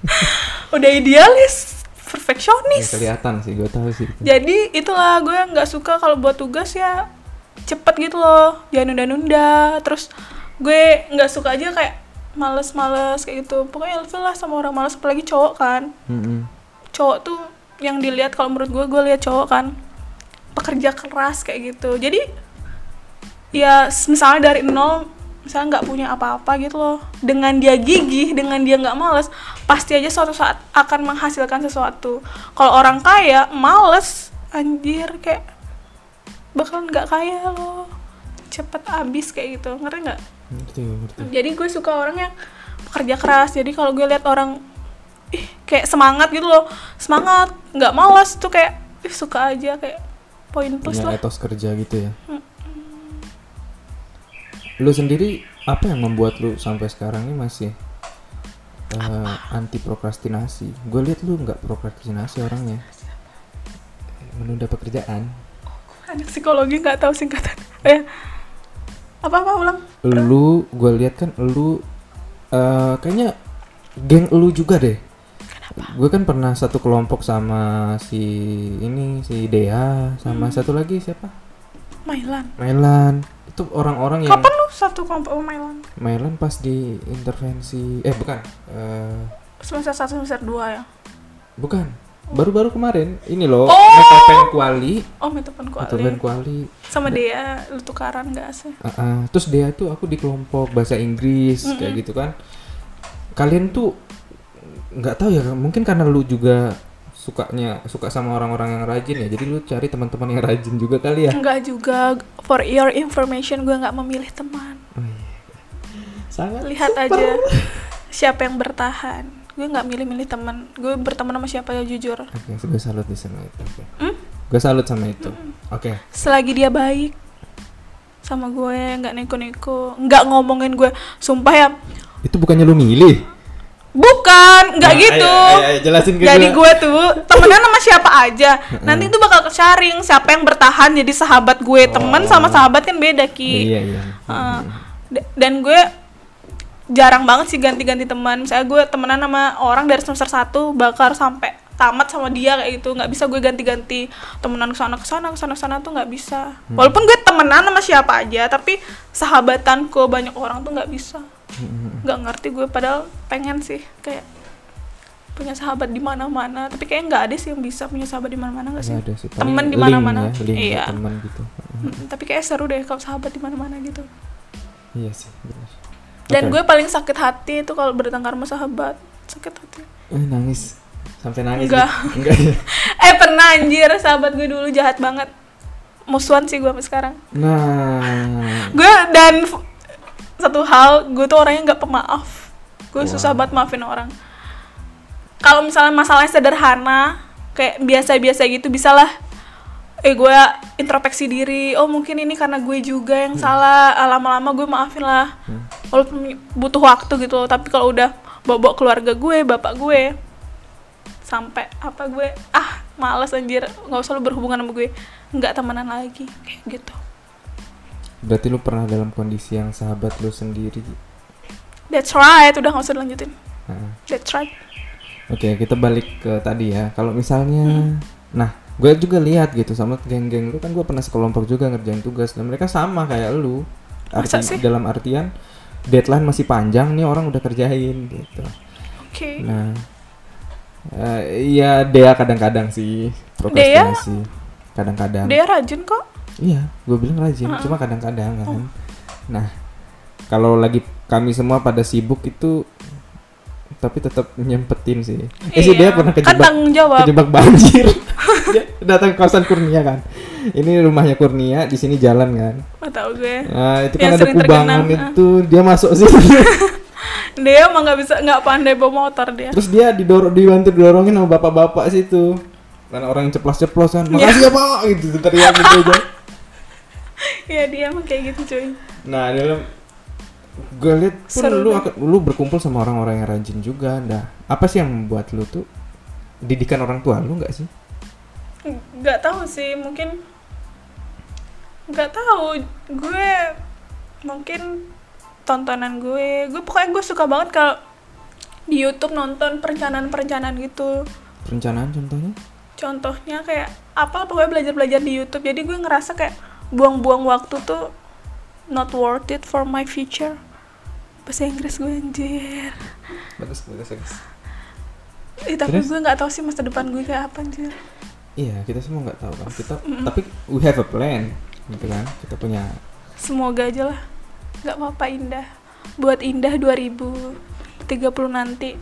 Speaker 2: (laughs) udah idealis
Speaker 1: Ya,
Speaker 2: perfeksionis
Speaker 1: kelihatan sih, gue tahu sih. itu.
Speaker 2: jadi itulah gue nggak suka kalau buat tugas ya cepet gitu loh jangan nunda-nunda terus gue nggak suka aja kayak males-males kayak gitu pokoknya ilfil lah sama orang males apalagi cowok kan
Speaker 1: Mm-mm.
Speaker 2: cowok tuh yang dilihat kalau menurut gue gue lihat cowok kan pekerja keras kayak gitu jadi ya s- misalnya dari nol misalnya nggak punya apa-apa gitu loh dengan dia gigih dengan dia nggak males pasti aja suatu saat akan menghasilkan sesuatu kalau orang kaya males anjir kayak bakalan nggak kaya loh cepet abis kayak gitu ngerti nggak
Speaker 1: Ngerti, ngerti.
Speaker 2: jadi gue suka orang yang pekerja keras jadi kalau gue lihat orang ih kayak semangat gitu loh semangat nggak malas tuh kayak ih, suka aja kayak poin plus
Speaker 1: Punya
Speaker 2: lah
Speaker 1: etos kerja gitu ya.
Speaker 2: Mm-mm.
Speaker 1: lu sendiri apa yang membuat lu sampai sekarang ini masih eh, anti prokrastinasi gue lihat lu nggak prokrastinasi orangnya menunda pekerjaan
Speaker 2: anak psikologi nggak tahu singkatan (laughs) eh apa apa ulang
Speaker 1: lu gue lihat kan lu eh, kayaknya geng lu juga deh gue kan pernah satu kelompok sama si ini si Dea
Speaker 2: Hmm.
Speaker 1: sama satu lagi siapa
Speaker 2: Mailan
Speaker 1: Melan itu orang-orang yang
Speaker 2: kapan lu satu kelompok sama Mailan
Speaker 1: Melan pas di intervensi eh bukan eh,
Speaker 2: semester satu semester dua ya
Speaker 1: bukan baru-baru kemarin ini loh
Speaker 2: Oh!
Speaker 1: Metapen Kuali
Speaker 2: oh metopen
Speaker 1: Metapen
Speaker 2: kuali
Speaker 1: Kuali
Speaker 2: sama dia lu tukaran nggak sih
Speaker 1: Ah, ah. terus dia tuh aku di kelompok bahasa Inggris kayak gitu kan kalian tuh nggak tahu ya mungkin karena lu juga sukanya suka sama orang-orang yang rajin ya jadi lu cari teman-teman yang rajin juga kali ya
Speaker 2: Enggak juga for your information gue nggak memilih teman
Speaker 1: sangat
Speaker 2: lihat aja siapa yang bertahan gue nggak milih-milih teman gue berteman sama siapa ya jujur
Speaker 1: oke gue salut di sama itu oke.
Speaker 2: Hmm?
Speaker 1: gue salut sama itu oke
Speaker 2: selagi dia baik sama gue nggak neko-neko nggak ngomongin gue sumpah ya
Speaker 1: itu bukannya lu milih
Speaker 2: bukan nggak
Speaker 1: Nah,
Speaker 2: gitu
Speaker 1: ayo, ayo, ayo, jelasin ke
Speaker 2: jadi
Speaker 1: gue
Speaker 2: gue tuh temenan sama siapa aja nanti itu bakal kesaring siapa yang bertahan jadi sahabat gue temen sama sahabat kan beda ki
Speaker 1: Oh. iya iya
Speaker 2: Uh, da- dan gue jarang banget sih ganti-ganti teman. Misalnya gue temenan sama orang dari semester 1 bakar sampai tamat sama dia kayak gitu. nggak bisa gue ganti-ganti temenan ke sana ke sana ke sana ke sana tuh nggak bisa. Walaupun gue temenan sama siapa aja, tapi sahabatan ke banyak orang tuh nggak bisa. nggak ngerti gue padahal pengen sih kayak punya sahabat di mana-mana, tapi kayak nggak ada sih yang bisa punya sahabat di mana-mana nggak sih?
Speaker 1: Nggak ada sih paling
Speaker 2: Temen di
Speaker 1: link
Speaker 2: mana-mana.
Speaker 1: ya, link ke
Speaker 2: Iya.
Speaker 1: temen gitu
Speaker 2: Mm, tapi kayak seru deh kalau sahabat di mana-mana gitu.
Speaker 1: iya sih benar
Speaker 2: Dan
Speaker 1: Oke.
Speaker 2: gue paling sakit hati itu kalau bertengkar sama sahabat. Sakit hati.
Speaker 1: Eh, nangis sampai nangis
Speaker 2: Enggak.
Speaker 1: gitu. enggak ya.
Speaker 2: Eh pernah anjir sahabat gue dulu jahat banget. Musuhan sih gue sampai sekarang.
Speaker 1: Nah,
Speaker 2: Gue dan f- satu hal, gue tuh orangnya nggak pemaaf.
Speaker 1: Wah.
Speaker 2: Gue susah banget maafin orang. Kalau misalnya masalahnya sederhana, kayak biasa-biasa gitu, bisalah eh gue introspeksi diri. Oh mungkin ini karena gue juga yang salah. Ah, Lama-lama gue maafin lah.
Speaker 1: Hmm.
Speaker 2: Walaupun butuh waktu gitu, tapi kalau udah bawa keluarga gue, bapak gue, sampai apa gue ah males anjir nggak usah lu berhubungan sama gue nggak temenan lagi kayak gitu
Speaker 1: berarti lu pernah dalam kondisi yang sahabat lu sendiri.
Speaker 2: That's right, udah nggak usah dilanjutin.
Speaker 1: Nah,
Speaker 2: That's right.
Speaker 1: Oke, kita balik ke tadi ya. Kalau misalnya,
Speaker 2: Hmm.
Speaker 1: nah, gue juga lihat gitu sama geng-geng lu kan gue pernah sekelompok juga ngerjain tugas dan mereka sama kayak lu.
Speaker 2: Masa sih?
Speaker 1: dalam artian deadline masih panjang nih orang udah kerjain gitu.
Speaker 2: Oke.
Speaker 1: Nah, eh, iya Dea kadang-kadang sih prokrastinasi. Kadang-kadang.
Speaker 2: Dia rajin kok.
Speaker 1: Iya, gue bilang rajin,
Speaker 2: Ah.
Speaker 1: cuma kadang-kadang
Speaker 2: Oh.
Speaker 1: kan. Nah, kalau lagi kami semua pada sibuk itu tapi tetap nyempetin sih. Eh sih dia
Speaker 2: Iya.
Speaker 1: pernah
Speaker 2: Kan
Speaker 1: kejebak
Speaker 2: tanggung jawab.
Speaker 1: kejebak banjir. (laughs) Dia datang ke kosan Kurnia kan. Ini rumahnya Kurnia, di sini jalan kan.
Speaker 2: Nggak tahu gue.
Speaker 1: Nah, itu
Speaker 2: Yang
Speaker 1: kan ada
Speaker 2: sering
Speaker 1: kubangan
Speaker 2: tergenang, ah.
Speaker 1: itu, dia masuk sini.
Speaker 2: Dia emang nggak bisa nggak pandai bawa motor dia.
Speaker 1: Terus dia didorong dibantu didorongin sama bapak-bapak situ. Karena orang yang ceplos-ceplos kan. Makasih ya, Pak, gitu teriak gitu aja.
Speaker 2: Iya dia emang kayak gitu cuy.
Speaker 1: Nah dalam gue lihat pun
Speaker 2: Seru
Speaker 1: lu
Speaker 2: deh.
Speaker 1: akan- lu berkumpul sama orang-orang yang rajin juga. Nah apa sih yang membuat lu tuh didikan orang tua lu nggak sih?
Speaker 2: Nggak tahu sih, mungkin nggak tahu gue mungkin tontonan gue. Gue pokoknya gue suka banget kalau di YouTube nonton perencanaan-perencanaan gitu.
Speaker 1: Perencanaan contohnya?
Speaker 2: contohnya kayak apa pokoknya belajar-belajar di YouTube jadi gue ngerasa kayak buang-buang waktu tuh not worth it for my future bahasa Inggris gue anjir
Speaker 1: Bagus bagus bagus.
Speaker 2: Ih, tapi
Speaker 1: Terus?
Speaker 2: gue nggak tahu sih masa depan gue kayak apa anjir
Speaker 1: Iya kita semua nggak tahu kan kita tapi we have a plan gitu kan kita punya
Speaker 2: semoga aja lah nggak apa-apa indah buat indah 2030 nanti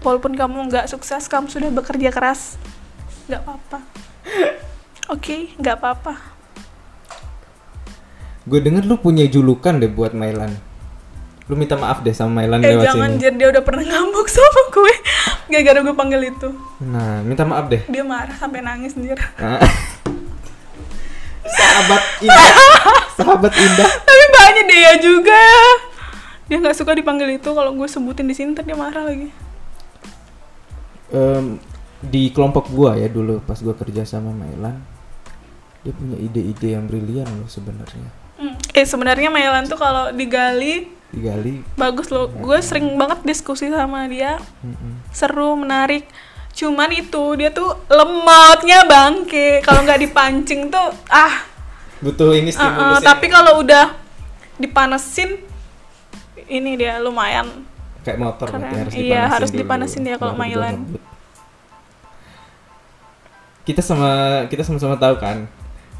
Speaker 2: walaupun kamu nggak sukses kamu sudah bekerja keras nggak apa-apa oke nggak apa-apa
Speaker 1: gue denger lu punya julukan deh buat Mailan lu minta maaf deh sama Mailan
Speaker 2: eh
Speaker 1: lewat
Speaker 2: jangan
Speaker 1: sini
Speaker 2: Jir, dia udah pernah ngambek (laughs) sama gue gara-gara gue panggil itu
Speaker 1: nah minta maaf deh
Speaker 2: dia marah sampai nangis anjir
Speaker 1: (laughs) Nah. sahabat indah sahabat indah
Speaker 2: (laughs) tapi banyak Makanya Dea juga. Dia nggak suka dipanggil itu. Kalau gue sebutin di sini ntar dia marah lagi.
Speaker 1: Em, di kelompok gua ya dulu pas gua kerja sama Mailan dia punya ide-ide yang brilian loh sebenarnya
Speaker 2: Hmm. Eh sebenarnya Melan tuh kalau digali
Speaker 1: digali
Speaker 2: bagus loh. Gue sering banget diskusi sama dia.
Speaker 1: mm-mm.
Speaker 2: Seru, menarik. Cuman itu dia tuh lemotnya bangke. Kalau nggak dipancing tuh ah
Speaker 1: butuh ini
Speaker 2: Uh-uh,
Speaker 1: stimulus yang
Speaker 2: tapi kalau udah dipanesin ini dia lumayan
Speaker 1: kayak motor berarti
Speaker 2: keren.
Speaker 1: harus
Speaker 2: Iya,
Speaker 1: dipanasin
Speaker 2: harus
Speaker 1: dulu,
Speaker 2: dipanasin dia kalau
Speaker 1: baru dia
Speaker 2: Mailan.
Speaker 1: lembut. kita sama kita sama-sama tahu kan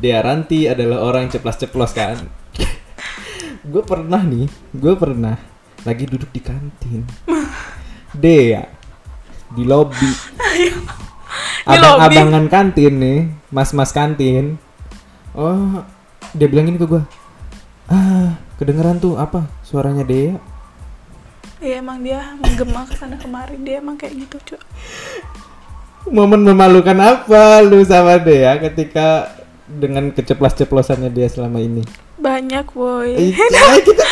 Speaker 1: Dea Ranti adalah orang ceplas-ceplos kan (laughs) gue pernah nih gue pernah lagi duduk di
Speaker 2: (laughs)
Speaker 1: kantin Dea di lobi
Speaker 2: Di
Speaker 1: abang-abangan kantin nih mas-mas kantin oh dia bilang gini ke gue ah kedengeran tuh apa suaranya Dea
Speaker 2: Iya emang dia menggema kesana kemari dia emang kayak gitu cuy.
Speaker 1: momen memalukan apa lu sama dia ketika dengan keceplos-ceplosannya dia selama ini? Eh,
Speaker 2: Banyak boy.
Speaker 1: ya, kita-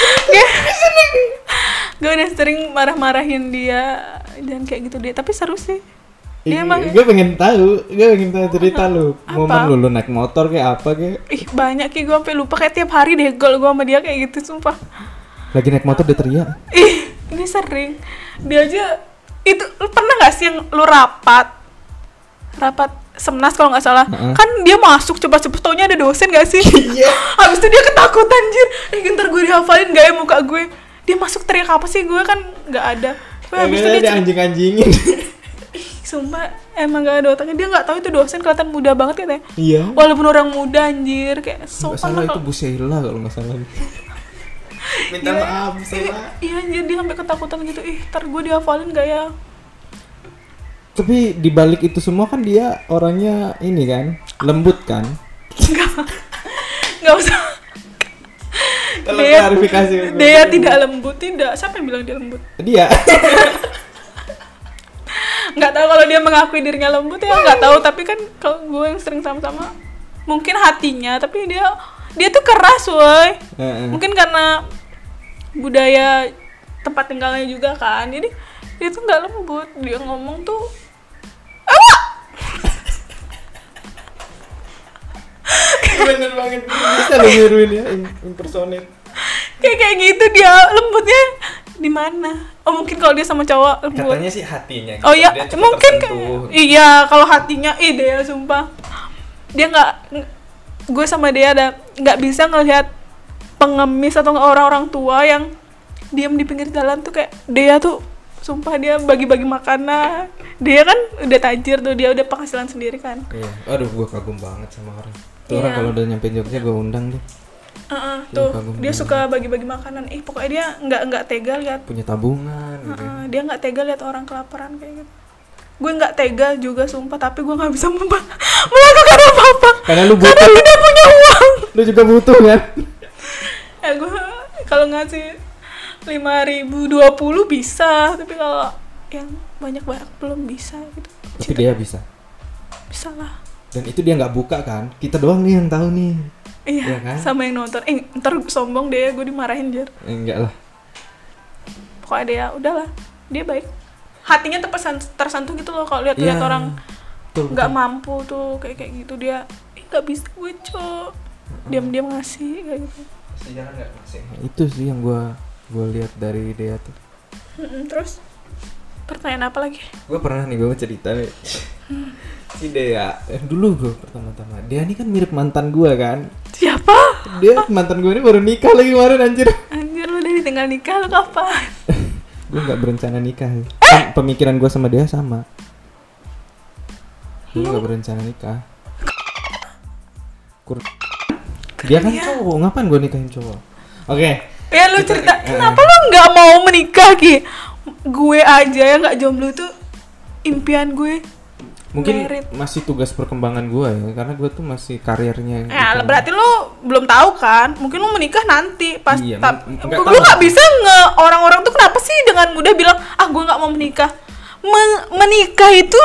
Speaker 2: Gue udah sering marah-marahin dia dan kayak gitu dia. Tapi seru sih. Dia emang
Speaker 1: gue pengen tahu, gue pengen tahu cerita lu.
Speaker 2: Apa?
Speaker 1: Momen lu, lu naik motor kayak apa kayak
Speaker 2: ih banyak ki gue sampai lupa kayak tiap hari deh gol gue sama dia kayak gitu sumpah.
Speaker 1: lagi naik motor dia teriak.
Speaker 2: Ih ini sering. Dia aja itu lu pernah gak sih yang lu rapat rapat semnas kalau nggak salah
Speaker 1: Heeh. Iya.
Speaker 2: kan dia masuk coba cepet taunya ada dosen gak sih (laughs) habis itu dia ketakutan jir eh gentar gue dihafalin gak ya muka gue dia masuk teriak apa sih gue kan nggak ada Tapi habis itu
Speaker 1: Akhirnya Eh,
Speaker 2: dia
Speaker 1: dia anjing-anjingin. (laughs)
Speaker 2: cer- sumpah emang gak ada otaknya dia nggak tahu itu dosen kelihatan muda banget katanya
Speaker 1: iya.
Speaker 2: walaupun orang muda anjir kayak
Speaker 1: Nggak
Speaker 2: sopan
Speaker 1: salah
Speaker 2: lah
Speaker 1: itu
Speaker 2: kalau-
Speaker 1: Bu Sheila kalau nggak salah. Minta
Speaker 2: Iya,
Speaker 1: maaf
Speaker 2: iya,
Speaker 1: salah.
Speaker 2: iya anjir dia sampai ketakutan gitu ih ntar gue dihafalin gak ya
Speaker 1: Tapi dibalik itu semua kan dia orangnya ini kan lembut kan.
Speaker 2: nggak usah
Speaker 1: Tolong
Speaker 2: Dea-
Speaker 1: klarifikasi.
Speaker 2: dia tidak lembut tidak siapa yang bilang dia lembut (laughs)
Speaker 1: Dia.
Speaker 2: nggak tahu kalau dia mengakui dirinya lembut ya nggak tahu tapi kan kalau gue yang sering sama-sama mungkin hatinya tapi dia dia tuh keras woi
Speaker 1: Heeh.
Speaker 2: mungkin karena budaya tempat tinggalnya juga kan jadi dia tuh nggak lembut dia ngomong tuh
Speaker 1: bener banget bisa lu niruin ya im- impersonate
Speaker 2: kayak kayak gitu dia lembutnya di mana oh mungkin kalau dia sama cowok lembut
Speaker 1: katanya sih hatinya gitu,
Speaker 2: Oh iya, mungkin kayak- iya kalau hatinya ih Dea sumpah. Dia nggak gue sama dia ada nggak bisa ngelihat pengemis atau nggak orang-orang tua yang diam di pinggir jalan tuh kayak Dea tuh sumpah dia bagi-bagi makanan. Dia kan udah tajir tuh, dia udah penghasilan sendiri kan.
Speaker 1: iya aduh gua kagum banget sama orang tuh
Speaker 2: Iya.
Speaker 1: orang kalau udah nyampe Jogja gua undang deh
Speaker 2: Heeh,
Speaker 1: Iya,
Speaker 2: tuh
Speaker 1: kagum
Speaker 2: dia
Speaker 1: banget.
Speaker 2: suka bagi-bagi makanan. Ih, pokoknya dia nggak nggak tega lihat
Speaker 1: punya tabungan gitu
Speaker 2: Heeh, dia nggak tega lihat orang kelaparan kayak gitu gue nggak tega juga sumpah tapi gue nggak bisa (laughs) memba- melakukan apa apa
Speaker 1: Karena lu
Speaker 2: karena
Speaker 1: butuh.
Speaker 2: tidak punya uang
Speaker 1: lu juga butuh kan
Speaker 2: (laughs) eh gue kalau ngasih lima ribu dua puluh bisa tapi kalau yang banyak banyak belum bisa gitu
Speaker 1: tapi dia bisa
Speaker 2: bisa lah
Speaker 1: dan itu dia nggak buka kan kita doang nih yang tahu nih Iya
Speaker 2: iya
Speaker 1: kan?
Speaker 2: sama yang nonton eh ntar sombong deh gue dimarahin jer
Speaker 1: eh, enggak lah
Speaker 2: pokoknya dia udahlah dia baik hatinya terpesan tersentuh gitu loh kalau lihat-lihat
Speaker 1: Iya,
Speaker 2: orang
Speaker 1: betul,
Speaker 2: nggak
Speaker 1: betul.
Speaker 2: mampu tuh kayak kayak gitu dia "Ih, nggak bisa gue cok diam-diam ngasih kayak gitu
Speaker 1: Nah, itu sih yang gua gua lihat dari dia tuh
Speaker 2: Mm-mm, terus pertanyaan apa lagi
Speaker 1: gue pernah nih gue mau cerita
Speaker 2: (laughs)
Speaker 1: nih si Dea eh, dulu gue pertama-tama Dea ini kan mirip mantan gua kan
Speaker 2: siapa
Speaker 1: dia mantan gue ini baru nikah lagi kemarin anjir
Speaker 2: anjir lu udah ditinggal nikah lu kapan
Speaker 1: gue nggak berencana nikah sih.
Speaker 2: Eh!
Speaker 1: Pem- pemikiran gue sama dia sama gue nggak berencana nikah Kur- dia kan cowok ngapain gue nikahin cowok oke
Speaker 2: ya lu
Speaker 1: Gitu.
Speaker 2: cerita
Speaker 1: Eh.
Speaker 2: kenapa lu nggak mau menikah ki gue aja yang nggak jomblo tuh impian gue
Speaker 1: mungkin
Speaker 2: Merit.
Speaker 1: masih tugas perkembangan gue ya karena gue tuh masih karirnya
Speaker 2: Ya,
Speaker 1: gitu.
Speaker 2: berarti lu belum tahu kan? Mungkin lu menikah nanti pas
Speaker 1: Iya,
Speaker 2: tap-
Speaker 1: m- m- nggak
Speaker 2: lu
Speaker 1: tahu.
Speaker 2: nggak bisa nge orang-orang tuh kenapa sih dengan mudah bilang ah gue nggak mau menikah. Men- menikah itu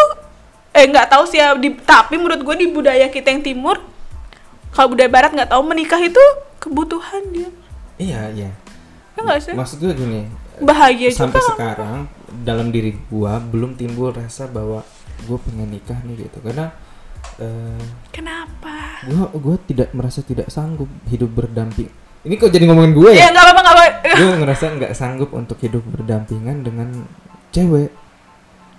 Speaker 2: eh nggak tahu sih ya di, tapi menurut gue di budaya kita yang timur kalau budaya barat nggak tahu menikah itu kebutuhan dia.
Speaker 1: Iya iya.
Speaker 2: Ya nggak sih?
Speaker 1: Maksud gue gini,
Speaker 2: Bahagia
Speaker 1: sampai
Speaker 2: juga.
Speaker 1: sekarang dalam diri gua belum timbul rasa bahwa gua pengen nikah nih gitu karena eh,
Speaker 2: Kenapa?
Speaker 1: gua gua tidak merasa tidak sanggup hidup berdamping. Ini kok jadi ngomongin gue ya?
Speaker 2: Ya nggak apa-apa, nggak apa-apa.
Speaker 1: Gue ngerasa nggak sanggup untuk hidup berdampingan dengan cewek.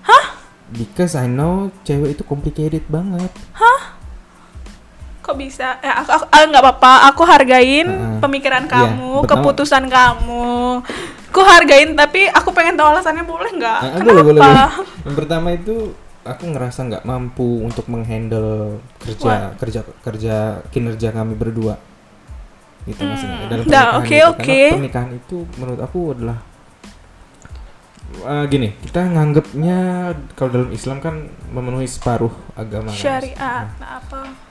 Speaker 1: Hah? Because I know cewek itu complicated banget.
Speaker 2: Kok bisa? Ya, aku, aku ah, nggak apa-apa. Aku hargain
Speaker 1: Heeh.
Speaker 2: pemikiran
Speaker 1: Iya,
Speaker 2: kamu,
Speaker 1: pertama-
Speaker 2: keputusan kamu. Aku hargain, tapi aku pengen tahu alasannya boleh nggak?
Speaker 1: Ah, ah,
Speaker 2: Kenapa?
Speaker 1: boleh, boleh, boleh. Yang pertama itu aku ngerasa nggak mampu untuk menghandle kerja kerja kerja kinerja kami berdua. Gitu maksudnya. Dalam pernikahan
Speaker 2: Dah, Hmm. Nah, oke,
Speaker 1: gitu.
Speaker 2: oke.
Speaker 1: Karena pernikahan itu menurut aku adalah eh, gini, kita nganggapnya kalau dalam Islam kan memenuhi separuh agama. kan?
Speaker 2: Syariat,
Speaker 1: Nah,
Speaker 2: nah apa?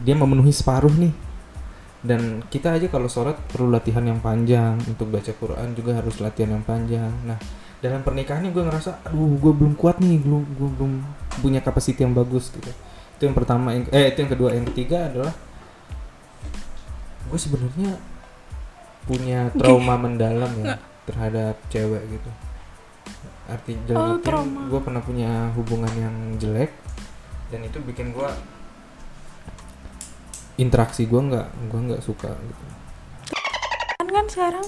Speaker 1: dia memenuhi separuh nih. Dan kita aja kalau sholat perlu latihan yang panjang untuk baca Quran juga harus latihan yang panjang. Nah dalam pernikahan ini gue ngerasa, aduh gue belum kuat nih, gue, gue belum punya kapasiti yang bagus gitu. Itu yang pertama, yang, eh itu yang kedua, yang ketiga adalah gue sebenarnya punya trauma mendalam ya terhadap cewek gitu. Arti
Speaker 2: Oh,
Speaker 1: dalam artian
Speaker 2: trauma.
Speaker 1: gue pernah punya hubungan yang jelek dan itu bikin gue interaksi gue nggak gue nggak suka gitu
Speaker 2: Kan kan sekarang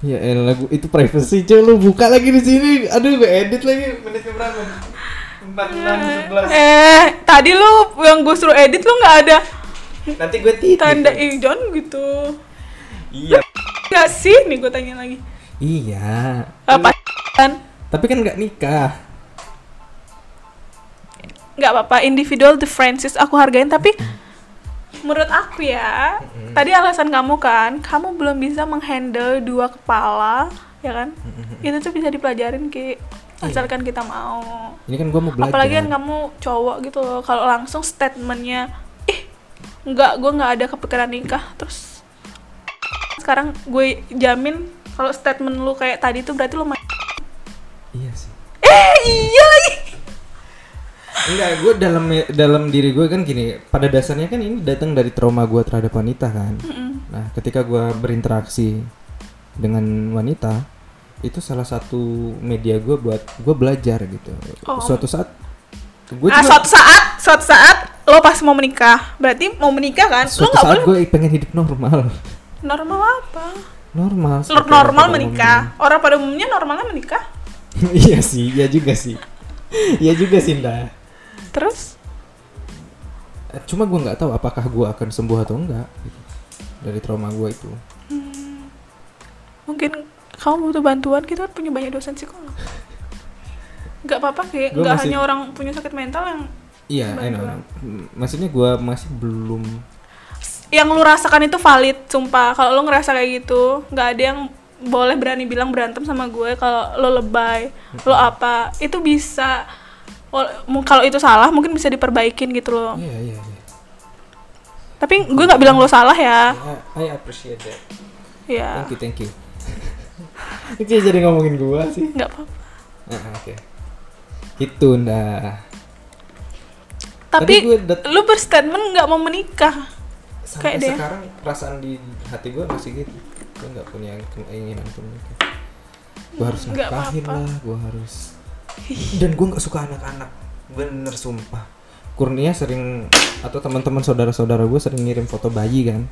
Speaker 1: ya elah lagu itu privacy cuy lu buka lagi di sini aduh gue edit lagi menitnya berapa empat enam sebelas
Speaker 2: Eh, tadi lu yang gue suruh edit lu nggak ada
Speaker 1: Iya, nanti gue titik
Speaker 2: tanda ih jangan gitu.
Speaker 1: iya
Speaker 2: Nggak sih? Nih gue tanya lagi. Eh,
Speaker 1: iya
Speaker 2: Apa? Kan?
Speaker 1: tapi kan nggak nikah
Speaker 2: nggak apa-apa individual differences aku hargain tapi
Speaker 1: Hmm.
Speaker 2: menurut aku ya tadi alasan kamu kan kamu belum bisa menghandle dua kepala ya kan
Speaker 1: Mm-hmm.
Speaker 2: itu tuh bisa dipelajarin ki asalkan kita mau
Speaker 1: ini kan gue mau Iya. belajar
Speaker 2: apalagi kan kamu cowok gitu loh kalau langsung statementnya ih nggak gue nggak ada kepikiran nikah terus sekarang gue jamin kalau statement lu kayak tadi tuh berarti lu ma-
Speaker 1: iya sih
Speaker 2: eh iya lagi
Speaker 1: Enggak, gue dalam dalam diri gue kan gini. Pada dasarnya kan ini datang dari trauma gue terhadap wanita kan. Nah, ketika gue berinteraksi dengan wanita, itu salah satu media gue buat gue belajar gitu.
Speaker 2: Oh.
Speaker 1: Suatu saat gue
Speaker 2: ah, suatu saat, suatu saat lo pas mau menikah, berarti mau menikah kan? Lo
Speaker 1: suatu
Speaker 2: nggak
Speaker 1: saat
Speaker 2: boleh
Speaker 1: gue pengen hidup normal,
Speaker 2: normal apa?
Speaker 1: normal.
Speaker 2: Lo
Speaker 1: seperti orang
Speaker 2: normal
Speaker 1: pada
Speaker 2: menikah. Orang pada umumnya normalnya menikah.
Speaker 1: umumnya. (laughs) iya sih, iya juga sih, iya juga sih Nda.
Speaker 2: Terus
Speaker 1: Cuma gue nggak tahu apakah gue akan sembuh atau enggak gitu, dari trauma gue itu.
Speaker 2: mungkin kamu butuh bantuan kita kan punya banyak dosen psikolog. Gak apa-apa Ki,
Speaker 1: Gua
Speaker 2: gak
Speaker 1: masih-
Speaker 2: hanya orang punya sakit mental yang
Speaker 1: Iya, I know, I know. M- Maksudnya gue masih belum.
Speaker 2: yang lu rasakan itu valid, sumpah. Kalau lo ngerasa kayak gitu, gak ada yang boleh berani bilang berantem sama gue kalau lo lebay, lo
Speaker 1: Hmm.
Speaker 2: apa, itu bisa wal- mu- kalau itu salah mungkin bisa diperbaikin gitu loh.
Speaker 1: Iya, iya, iya.
Speaker 2: Tapi gue nggak bilang lo salah ya.
Speaker 1: I- I appreciate that.
Speaker 2: Ya.
Speaker 1: Thank you, thank you. (laughs) Itu jadi ngomongin gua sih.
Speaker 2: Nggak apa-apa.
Speaker 1: Ah, ah, oke. Itu ndah.
Speaker 2: Tapi
Speaker 1: Tadi gue dat-
Speaker 2: lu berstatement nggak mau menikah.
Speaker 1: Sampai
Speaker 2: Kayak dia.
Speaker 1: sekarang perasaan di hati gua masih gitu. Gua nggak punya keinginan untuk menikah. Gua harus
Speaker 2: Nggak
Speaker 1: nikahin
Speaker 2: apa-apa.
Speaker 1: lah, gua harus. Dan gua nggak suka anak-anak. Bener sumpah. Kurnia sering atau teman-teman saudara-saudara gue sering ngirim foto bayi kan.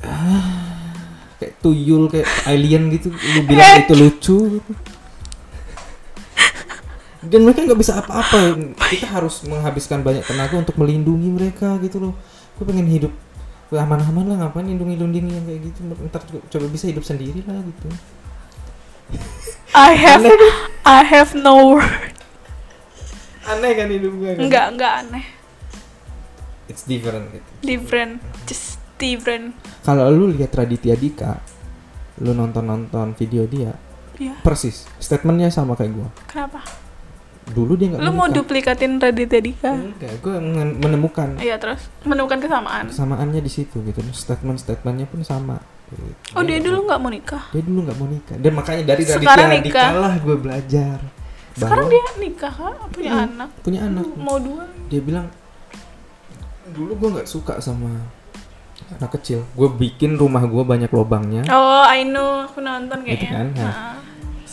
Speaker 1: Ah, kayak tuyul kayak alien gitu lu bilang itu lucu gitu. dan mereka nggak bisa apa-apa kita harus menghabiskan banyak tenaga untuk melindungi mereka gitu loh gue pengen hidup aman-aman lah ngapain lindungi lindungi yang kayak gitu ntar juga coba bisa hidup sendiri lah gitu
Speaker 2: I have I have no
Speaker 1: (laughs)
Speaker 2: word.
Speaker 1: aneh kan hidup gue kan?
Speaker 2: Nggak nggak aneh.
Speaker 1: it's different gitu
Speaker 2: Different. Just different.
Speaker 1: kalau lu lihat Raditya Dika lu nonton nonton video dia
Speaker 2: Ya.
Speaker 1: persis statementnya sama kayak gue
Speaker 2: Kenapa?
Speaker 1: dulu dia nggak
Speaker 2: Lu
Speaker 1: menikah.
Speaker 2: mau
Speaker 1: Hmm.
Speaker 2: duplikatin Raditya Dika?
Speaker 1: enggak gue menemukan
Speaker 2: Iya terus menemukan kesamaan.
Speaker 1: kesamaannya di situ gitu statement statementnya pun sama gitu.
Speaker 2: Oh dia dulu nggak mau nikah.
Speaker 1: dia dulu nggak mau nikah dan makanya dari
Speaker 2: Sekarang
Speaker 1: Raditya Dika
Speaker 2: nikah.
Speaker 1: lah gue belajar
Speaker 2: Sekarang
Speaker 1: Bahwa
Speaker 2: dia nikah kan? Punya
Speaker 1: Hmm.
Speaker 2: anak.
Speaker 1: punya anak
Speaker 2: Mau dua.
Speaker 1: dia bilang dulu gue nggak suka sama anak kecil gue bikin rumah gue banyak lobangnya
Speaker 2: Oh, I know, aku nonton
Speaker 1: Gitu
Speaker 2: kayaknya.
Speaker 1: kan, nah.
Speaker 2: Heeh.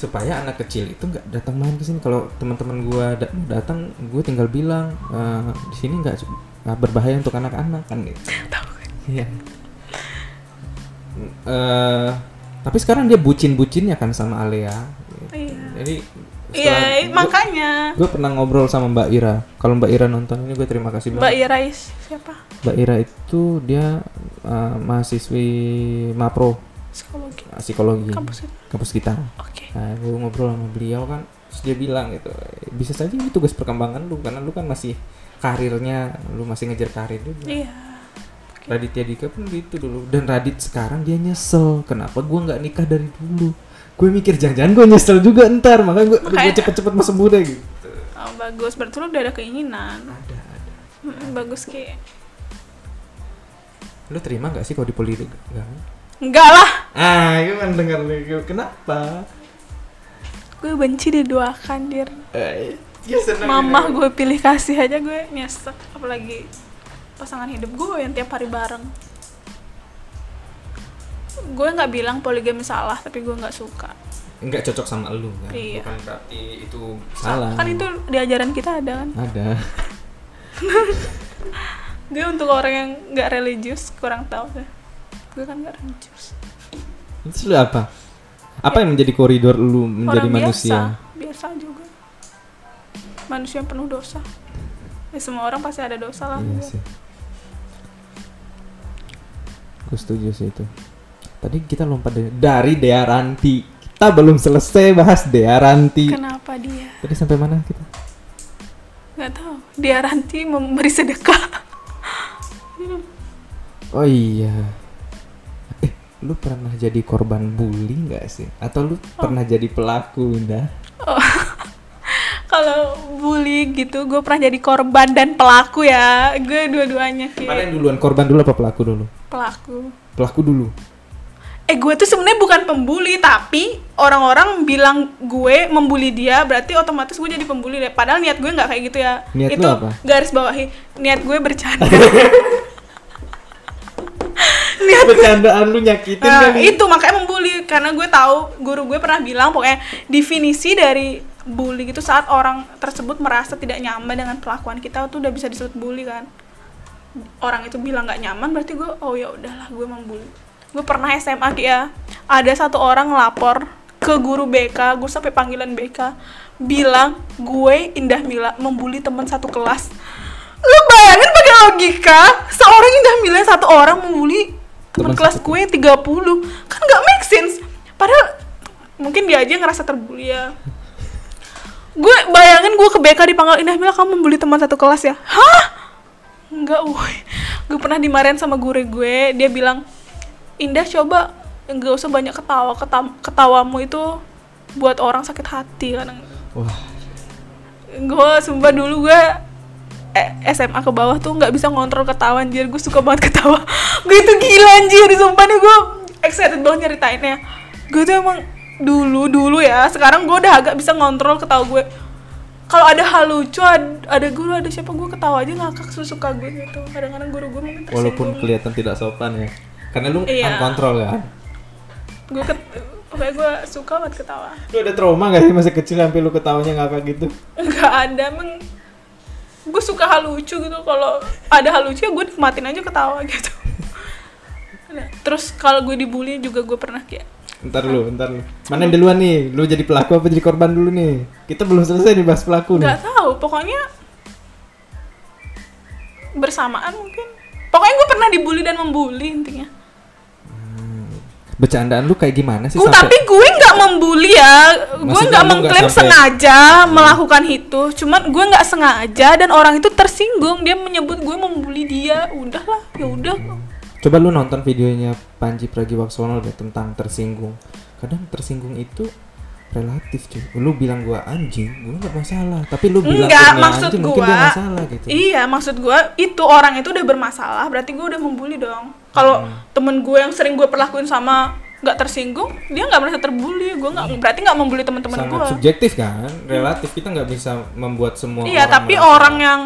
Speaker 1: supaya anak kecil itu nggak datang main ke sini kalau teman-teman gue da- mau datang gue tinggal bilang "Eh, di sini nggak su- nggak berbahaya untuk anak-anak kan gitu
Speaker 2: Tahu kan?
Speaker 1: Iya. Eh, tapi sekarang dia bucin-bucinnya kan sama Alea.
Speaker 2: Iya.
Speaker 1: Jadi
Speaker 2: Iya,
Speaker 1: setelah
Speaker 2: i- makanya.
Speaker 1: gue pernah ngobrol sama Mbak Ira. Kalau Mbak Ira nonton ini gue terima kasih
Speaker 2: Mbak
Speaker 1: banget.
Speaker 2: Irais siapa?
Speaker 1: Mbak Ira itu dia eh, mahasiswi Mapro
Speaker 2: Psikologi
Speaker 1: eh, psikologi
Speaker 2: kampus itu.
Speaker 1: kampus kita.
Speaker 2: Oke.
Speaker 1: Nah, gue ngobrol sama beliau kan terus dia bilang gitu bisa saja ini tugas perkembangan lu karena lu kan masih karirnya lu masih ngejar karir Dia bilang,
Speaker 2: Iya.
Speaker 1: Raditya Dika pun gitu dulu dan Radit sekarang dia nyesel kenapa gua nggak nikah dari dulu gue mikir jangan-jangan gue nyesel juga ntar makanya gue
Speaker 2: Makanya-
Speaker 1: cepet-cepet masuk muda gitu
Speaker 2: Oh, bagus. Berarti lu udah ada keinginan.
Speaker 1: ada ada
Speaker 2: Mm, Bagus ki.
Speaker 1: lu terima nggak sih kalau dipolitik Nggak.
Speaker 2: Enggak lah.
Speaker 1: ah itu kan dengar kenapa
Speaker 2: Gue benci diduakan, Dir.
Speaker 1: eh, dia seneng gitu.
Speaker 2: Mamah gue pilih kasih aja gue nyesek. Apalagi pasangan hidup gue yang tiap hari bareng. Gue nggak bilang poligami salah, tapi gue nggak suka.
Speaker 1: nggak cocok sama lu kan
Speaker 2: Iya.
Speaker 1: bukan berarti itu salah
Speaker 2: Kan itu di ajaran kita ada kan.
Speaker 1: ada
Speaker 2: Gue untuk orang yang nggak religius kurang tahu deh. Gue kan nggak religius.
Speaker 1: terus lu apa apa yang menjadi koridor lu menjadi
Speaker 2: orang
Speaker 1: manusia
Speaker 2: biasa, biasa juga. Manusia yang penuh dosa. Ya, semua orang pasti ada dosa lah.
Speaker 1: Iya
Speaker 2: Gue.
Speaker 1: sih. Gue setuju sih itu. Tadi kita lompat dari, dari Dea Ranti. Kita belum selesai bahas Dea Ranti.
Speaker 2: Kenapa dia?
Speaker 1: Tadi sampai mana kita?
Speaker 2: Nggak tahu. Dia ranti memberi sedekah.
Speaker 1: Oh iya. Eh, lu pernah jadi korban bully nggak sih? Atau
Speaker 2: Oh.
Speaker 1: lu pernah jadi pelaku, Indah?
Speaker 2: (laughs) Kalau bully gitu, gue pernah jadi korban dan pelaku ya. Gue dua-duanya Ki.
Speaker 1: Mana yang duluan? Korban dulu apa pelaku dulu?
Speaker 2: pelaku.
Speaker 1: Pelaku dulu.
Speaker 2: Eh gue tuh sebenarnya bukan pembuli tapi orang-orang bilang gue membuli dia berarti otomatis gue jadi pembuli deh. Padahal niat gue nggak kayak gitu ya.
Speaker 1: Niat
Speaker 2: Itu
Speaker 1: lo apa?
Speaker 2: garis bawahi niat gue
Speaker 1: (laughs)
Speaker 2: bercanda. (laughs)
Speaker 1: Bercandaan lu nyakitin kan?
Speaker 2: Nah,
Speaker 1: kali.
Speaker 2: itu makanya membuli karena gue tahu guru gue pernah bilang pokoknya definisi dari bully itu saat orang tersebut merasa tidak nyaman dengan perlakuan kita tuh udah bisa disebut bully kan. Orang itu bilang nggak nyaman berarti gue oh ya udahlah gue membuli. Gue pernah SMA Ki, ya. Ada satu orang ngelapor ke guru BK, gue sampai panggilan BK bilang gue Indah Mila membuli teman satu kelas. Lu bayangin pakai logika seorang Indah Mila satu orang membuli teman
Speaker 1: Teman
Speaker 2: kelas
Speaker 1: satu
Speaker 2: gue 30 kan nggak make sense padahal mungkin dia aja ngerasa terbully ya gue bayangin gue ke BK dipanggil Indah Mila kamu membuli teman satu kelas ya hah nggak woi gue pernah dimarahin sama guru gue dia bilang Indah coba nggak usah banyak ketawa Ketam- ketawamu itu buat orang sakit hati kan
Speaker 1: Wah,
Speaker 2: gue sumpah dulu gue eh, SMA ke bawah tuh nggak bisa ngontrol ketawa anjir gue suka banget ketawa (laughs) gue itu gila anjir sumpah nih gue excited banget nyeritainnya gue tuh emang dulu dulu ya sekarang gue udah agak bisa ngontrol ketawa gue kalau ada hal lucu ad- ada guru ada siapa gue ketawa aja ngakak susuka gue gitu kadang-kadang guru gue mungkin
Speaker 1: walaupun
Speaker 2: tersinggung
Speaker 1: kelihatan tidak sopan ya. Karena lu
Speaker 2: Iya.
Speaker 1: unkontrol kan.
Speaker 2: gue ket- pokoknya gue suka banget ketawa
Speaker 1: Lu ada trauma gak sih masa kecil sampai lu ketawanya ngakak gitu?
Speaker 2: nggak ada emang gue suka hal lucu gitu kalau ada hal lucu ya gue nikmatin aja ketawa gitu Nah, terus kalau gue dibully juga gue pernah kayak
Speaker 1: Ntar lu, ntar lu. Mana yang duluan nih? Lu jadi pelaku apa jadi korban dulu nih? Kita belum selesai nih bahas pelaku nih.
Speaker 2: nggak tahu pokoknya bersamaan mungkin pokoknya gue pernah dibully dan membuli intinya
Speaker 1: Bercandaan lu kayak gimana sih
Speaker 2: Gue tapi gue nggak membuli ya,
Speaker 1: Maksudnya
Speaker 2: gue nggak
Speaker 1: lu nggak
Speaker 2: mengklaim
Speaker 1: sampai- Hmm.
Speaker 2: sengaja melakukan itu. Cuman gue nggak sengaja dan orang itu tersinggung dia menyebut gue membuli dia. Udahlah, ya udah.
Speaker 1: Coba lu nonton videonya Panji Pragiwaksono deh tentang tersinggung. Kadang tersinggung itu relatif cuy. Lu bilang gua anjing, gua nggak masalah. Tapi lu bilang
Speaker 2: Enggak,
Speaker 1: temennya
Speaker 2: maksud
Speaker 1: anjing, mungkin
Speaker 2: gua.
Speaker 1: dia masalah gitu.
Speaker 2: Iya, maksud gue itu orang itu udah bermasalah, berarti gue udah membuli dong. Kalau
Speaker 1: Hmm.
Speaker 2: temen gue yang sering gue perlakuin sama nggak tersinggung, dia nggak merasa terbuli. Gue nggak berarti nggak membuli teman-teman
Speaker 1: Sangat
Speaker 2: gue.
Speaker 1: subjektif kan, relatif kita nggak bisa membuat semua.
Speaker 2: Iya,
Speaker 1: orang
Speaker 2: tapi
Speaker 1: merasa-
Speaker 2: orang yang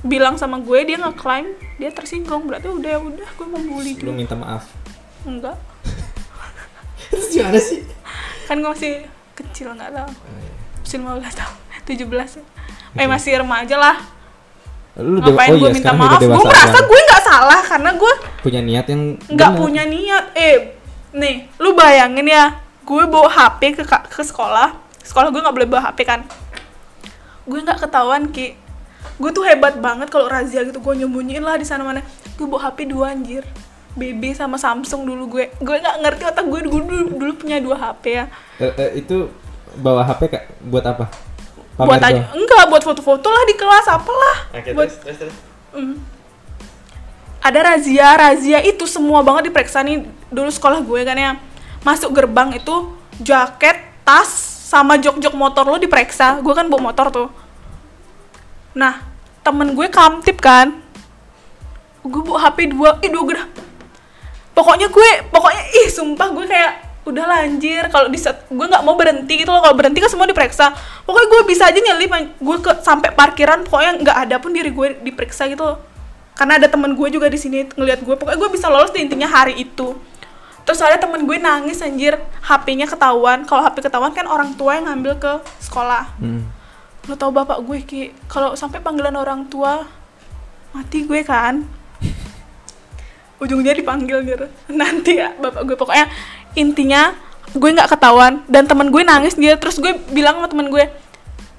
Speaker 2: bilang sama gue dia ngeklaim dia tersinggung berarti udah ya udah gue membuli
Speaker 1: Lu
Speaker 2: dia
Speaker 1: minta maaf.
Speaker 2: enggak
Speaker 1: (laughs) Terus gimana sih?
Speaker 2: kan gue masih kecil nggak
Speaker 1: Oh,
Speaker 2: tahu
Speaker 1: iya.
Speaker 2: 15 tahun (laughs) 17 eh masih remaja lah
Speaker 1: Lu dewa- oh iya,
Speaker 2: ngapain gue minta
Speaker 1: sekarang
Speaker 2: maaf gue
Speaker 1: dewasa
Speaker 2: merasa
Speaker 1: kan?
Speaker 2: gue nggak salah karena gue
Speaker 1: punya niat yang
Speaker 2: nggak
Speaker 1: benar.
Speaker 2: punya niat eh nih lu bayangin ya gue bawa HP ke ka- ke sekolah sekolah gue nggak boleh bawa HP kan gue nggak ketahuan ki gue tuh hebat banget kalau razia gitu gue nyembunyiin lah di sana mana gue bawa HP dua anjir BB sama Samsung dulu gue gue nggak ngerti otak gue dulu, dulu dulu punya dua HP ya
Speaker 1: Eh, eh, itu bawa HP Kak buat apa?
Speaker 2: buat
Speaker 1: doang?
Speaker 2: aja enggak buat foto-foto lah di kelas apalah buat Mm. ada razia razia itu semua banget diperiksa nih dulu sekolah gue kan ya masuk gerbang itu jaket tas sama jok-jok motor lo diperiksa gue kan bawa motor tuh nah temen gue kamtip kan gue bawa hp dua ih dua gerah pokoknya gue pokoknya ih sumpah gue kayak udah lanjir kalau di set- gue nggak mau berhenti gitu loh kalau berhenti kan semua diperiksa pokoknya gue bisa aja nyelip gue ke sampai parkiran pokoknya nggak ada pun diri gue diperiksa gitu loh karena ada teman gue juga di sini ngelihat gue pokoknya gue bisa lolos di intinya hari itu terus ada temen gue nangis anjir HP-nya ketahuan kalau HP ketahuan kan orang tua yang ngambil ke sekolah
Speaker 1: Hmm.
Speaker 2: lo tau bapak gue ki kalau sampai panggilan orang tua mati gue kan ujungnya dipanggil gitu nanti ya bapak gue pokoknya intinya gue nggak ketahuan dan teman gue nangis dia terus gue bilang sama teman gue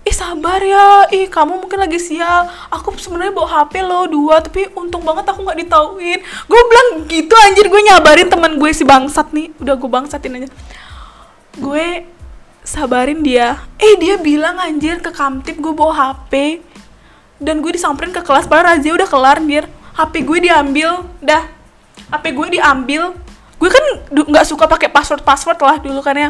Speaker 2: ih sabar ya ih kamu mungkin lagi sial aku sebenarnya bawa hp lo dua tapi untung banget aku nggak ditauin gue bilang gitu anjir gue nyabarin teman gue si bangsat nih udah gue bangsatin aja gue sabarin dia eh dia bilang anjir ke kamtip gue bawa hp dan gue disamperin ke kelas padahal razia udah kelar anjir hp gue diambil dah hp gue diambil gue kan du- nggak suka pakai password password lah dulu kan ya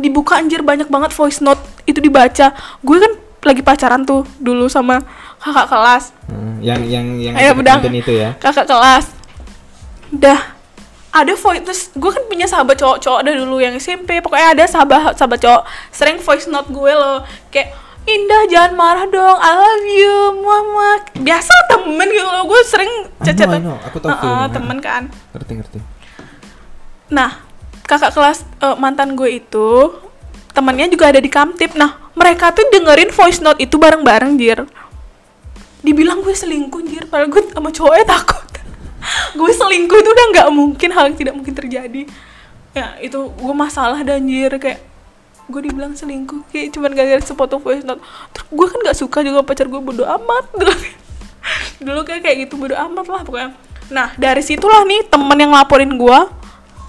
Speaker 2: dibuka anjir banyak banget voice note itu dibaca gue kan lagi pacaran tuh dulu sama kakak kelas
Speaker 1: Hmm, yang yang yang
Speaker 2: Ayo,
Speaker 1: ada
Speaker 2: pedang.
Speaker 1: konten itu ya.
Speaker 2: kakak kelas dah ada voice terus gue kan punya sahabat cowok-cowok ada dulu yang SMP pokoknya ada sahabat sahabat cowok sering voice note gue loh kayak Indah jangan marah dong I love you mama biasa temen gitu loh gue sering
Speaker 1: know,
Speaker 2: cacat
Speaker 1: I know. Aku tahu
Speaker 2: Heeh,
Speaker 1: filmnya.
Speaker 2: temen kan
Speaker 1: Ngerti ngerti.
Speaker 2: Nah, kakak kelas eh, mantan gue itu temannya juga ada di Kamtip. Nah, mereka tuh dengerin voice note itu bareng-bareng, Jir. Dibilang gue selingkuh, Jir. Padahal gue sama cowoknya takut. gue selingkuh itu udah nggak mungkin hal yang tidak mungkin terjadi. Ya, itu gue masalah dan Jir kayak gue dibilang selingkuh kayak cuman gara-gara sepotong voice note terus gue kan nggak suka juga pacar gue bodo amat (laughs) dulu dulu kayak kayak gitu bodo amat lah pokoknya nah dari situlah nih temen yang laporin gue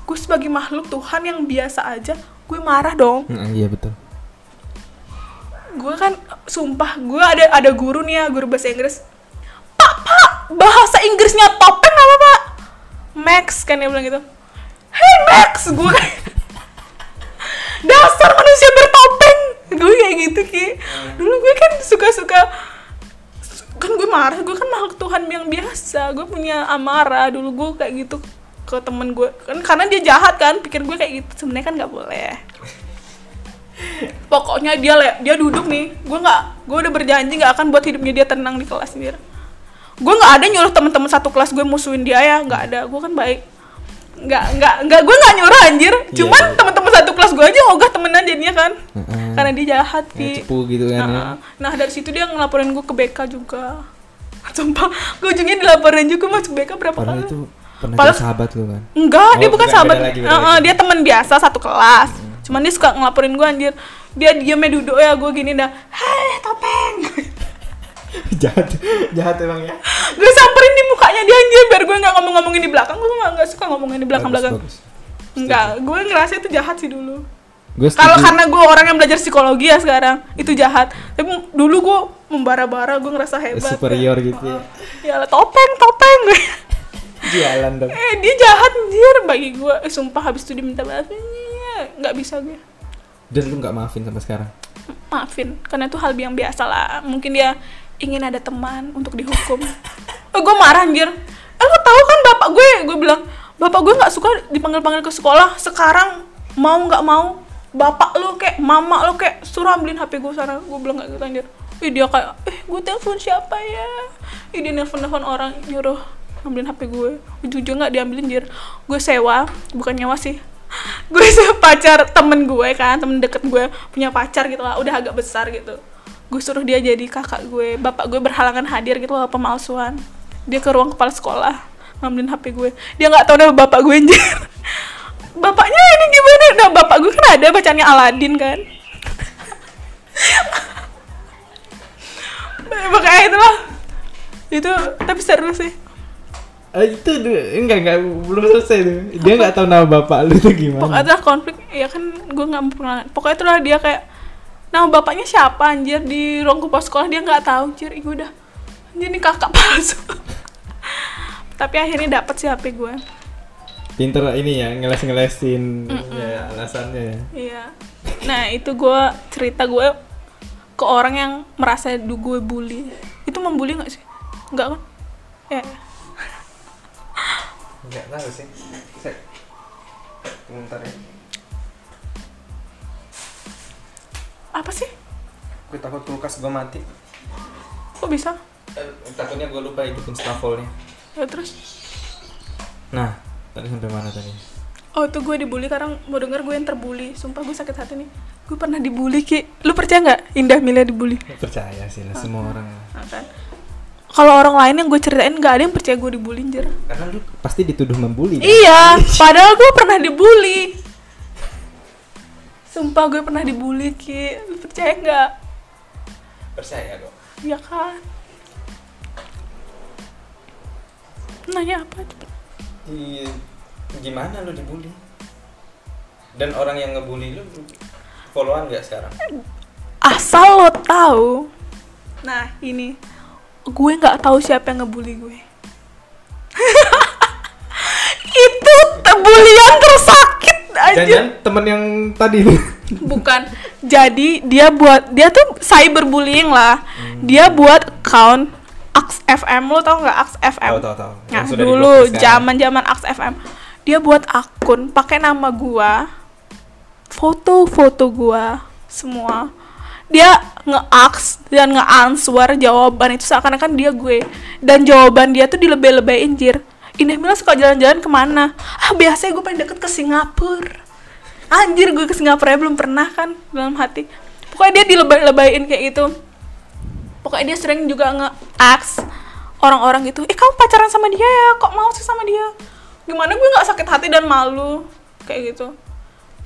Speaker 2: gue sebagai makhluk Tuhan yang biasa aja gue marah dong
Speaker 1: Hmm, iya betul.
Speaker 2: gue kan sumpah gue ada ada guru nih ya guru bahasa Inggris pak pak bahasa Inggrisnya topeng apa pak Max kan dia bilang gitu hey Max kan- gue kayak, dasar manusia bertopeng gue kayak gitu ki dulu gue kan suka suka kan gue marah gue kan makhluk Tuhan yang biasa gue punya amarah dulu gue kayak gitu ke temen gue kan karena dia jahat kan pikir gue kayak gitu sebenarnya kan nggak boleh pokoknya dia le- dia duduk nih gue nggak gue udah berjanji nggak akan buat hidupnya dia tenang di kelas sendiri gue nggak ada nyuruh teman-teman satu kelas gue musuhin dia ya nggak ada gue kan baik nggak nggak nggak gue nggak nyuruh anjir cuman
Speaker 1: iya.
Speaker 2: teman-teman satu kelas gue aja ogah temenan jadinya kan
Speaker 1: Heeh.
Speaker 2: karena dia jahat
Speaker 1: Ya,
Speaker 2: Ki.
Speaker 1: cepu gitu kan ya.
Speaker 2: Nah, nah dari situ dia ngelaporin gue ke BK juga. (laughs) Sumpah, gue ujungnya dilaporin juga masuk BK berapa
Speaker 1: Padahal
Speaker 2: kali?
Speaker 1: itu pernah
Speaker 2: Padahal-
Speaker 1: jadi sahabat lu kan.
Speaker 2: Enggak, dia
Speaker 1: Oh,
Speaker 2: bukan
Speaker 1: beda-
Speaker 2: sahabat.
Speaker 1: beda lagi, beda
Speaker 2: Heeh,
Speaker 1: lagi. Hmm.
Speaker 2: dia teman biasa satu kelas. Cuman dia suka ngelaporin gue anjir. Dia diamnya duduk ya gue gini dah. Hei, topeng.
Speaker 1: (laughs) jahat jahat emang ya.
Speaker 2: gue samperin di mukanya dia anjir biar gue nggak ngomong-ngomongin di belakang. Gue nggak nggak suka ngomongin di belakang-belakang. Enggak, gue ngerasa itu jahat sih dulu.
Speaker 1: Gue
Speaker 2: Kalau karena gue orang yang belajar psikologi ya sekarang itu jahat. Tapi dulu gue membara-bara, gue ngerasa hebat.
Speaker 1: superior gitu ya.
Speaker 2: Ya lah, topeng, topeng. (laughs)
Speaker 1: Jalan dong.
Speaker 2: eh, dia jahat anjir bagi gue. Eh, sumpah habis itu diminta maaf. Iya, nggak bisa gue.
Speaker 1: Dan lu nggak maafin sampai sekarang.
Speaker 2: Maafin, karena itu hal yang biasa lah. Mungkin dia ingin ada teman untuk dihukum. (laughs) eh, gue marah anjir. Eh, lo tahu kan bapak gue, gue bilang, "Bapak gue nggak suka dipanggil-panggil ke sekolah. Sekarang mau nggak mau, bapak lo kayak mama lo kayak suruh ambilin HP gue sana." Gue bilang nggak gitu anjir. Ih, dia kayak, "Eh, gue telepon siapa ya?" Ih, dia nelfon-nelfon orang nyuruh ngambilin HP gue. Jujur nggak diambilin jir. Gue sewa, bukan nyawa sih. (laughs) gue sewa pacar temen gue kan, temen deket gue punya pacar gitu lah, udah agak besar gitu. Gue suruh dia jadi kakak gue, bapak gue berhalangan hadir gitu loh pemalsuan. Dia ke ruang kepala sekolah ngambilin HP gue. Dia nggak tahu nama bapak gue (laughs) anjir. Bapaknya ini gimana? Nah, bapak gue kan ada bacaannya Aladin kan. (laughs) Makanya itu lah itu tapi seru sih
Speaker 1: Eh, itu du- enggak enggak belum selesai tuh. Dia nggak tahu nama bapak lu tuh
Speaker 2: pokoknya
Speaker 1: gimana.
Speaker 2: itulah konflik ya kan gue nggak memperkenalkan pokoknya itulah dia kayak nama bapaknya siapa anjir di ruang kepala sekolah dia nggak tahu anjir gue udah anjir ini kakak palsu (laughs) tapi akhirnya dapet sih HP gue
Speaker 1: Pinter ini ya ngeles-ngelesin ya, alasannya ya.
Speaker 2: iya nah itu gue cerita gue ke orang yang merasa du gue bully itu membully nggak sih nggak kan ya
Speaker 1: Enggak tahu sih. Sek. Bentar ya.
Speaker 2: apa sih
Speaker 1: Gue takut kulkas gue mati.
Speaker 2: kok bisa
Speaker 1: Eh, takutnya gue lupa hidupin stafolnya.
Speaker 2: ya terus
Speaker 1: Nah, tadi sampai mana tadi?
Speaker 2: Oh itu gue dibully karena mau denger gue yang terbully Sumpah gue sakit hati nih Gue pernah dibully Ki Lu percaya nggak Indah Mila dibully?
Speaker 1: Percaya sih lah semua orang.
Speaker 2: Nah, kan? Kalau orang lain yang gue ceritain nggak ada yang percaya gue dibully anjir
Speaker 1: Karena lu pasti dituduh membuli. kan?
Speaker 2: Iya Padahal gue pernah dibully Sumpah gue pernah dibully Ki Lu percaya nggak?
Speaker 1: Percaya kok.
Speaker 2: Iya kan Nanya apa tuh?
Speaker 1: Iya, gimana lu dibully? Dan orang yang ngebully lu followan gak sekarang?
Speaker 2: Asal lo tahu. Nah, ini gue nggak tahu siapa yang ngebully (laughs) gue. itu te- bulian tersakit aja.
Speaker 1: Jangan temen yang tadi.
Speaker 2: Bukan. (laughs) Jadi dia buat dia tuh cyberbullying lah.
Speaker 1: Hmm.
Speaker 2: Dia buat account Aks FM lo tau nggak Aks FM?
Speaker 1: Tahu, tahu, tahu. Yang
Speaker 2: Nah,
Speaker 1: sudah
Speaker 2: dulu
Speaker 1: diblokir sekarang.
Speaker 2: zaman-zaman Aks FM. Dia buat akun pakai nama gua. Foto-foto gua semua. Dia nge-aks dan nge-answer jawaban itu seakan-akan dia gue. Dan jawaban dia tuh dilebay-lebayin jir. Indah Mila suka jalan-jalan kemana? Ah, biasanya gue pengen deket ke Singapura. Anjir, gue ke Singapura belum pernah kan dalam hati. Pokoknya dia dilebay-lebayin kayak gitu pokoknya dia sering juga nge-ask orang-orang gitu eh kamu pacaran sama dia ya kok mau sih sama dia gimana gue nggak sakit hati dan malu kayak gitu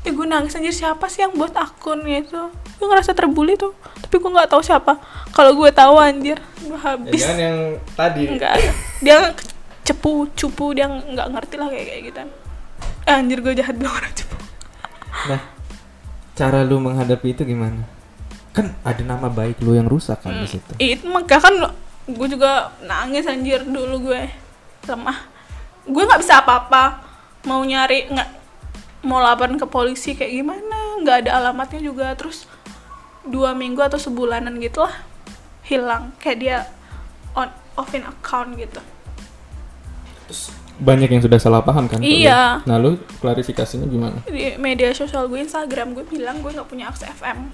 Speaker 2: eh gue nangis anjir siapa sih yang buat akun gitu gue ngerasa terbully tuh tapi gue nggak tahu siapa kalau gue tahu anjir gue
Speaker 1: Ya,
Speaker 2: habis
Speaker 1: jangan yang tadi.
Speaker 2: enggak ada. dia cepu cupu dia nggak ngerti lah kayak kayak gitu eh, anjir gue jahat banget orang cepu
Speaker 1: Nah, cara lu menghadapi itu gimana? Kan ada nama baik lu yang rusak kan di situ.
Speaker 2: Ih, itu makanya kan gue juga nangis anjir dulu gue lemah gue nggak bisa apa-apa mau nyari nggak mau laporan ke polisi kayak gimana nggak ada alamatnya juga terus dua minggu atau sebulanan gitu lah hilang kayak dia on offin account gitu
Speaker 1: Banyak yang sudah salah paham kan? ke lu.
Speaker 2: Iya.
Speaker 1: Nah, lu klarifikasinya gimana?
Speaker 2: di media sosial gue Instagram gue bilang gue nggak punya akses FM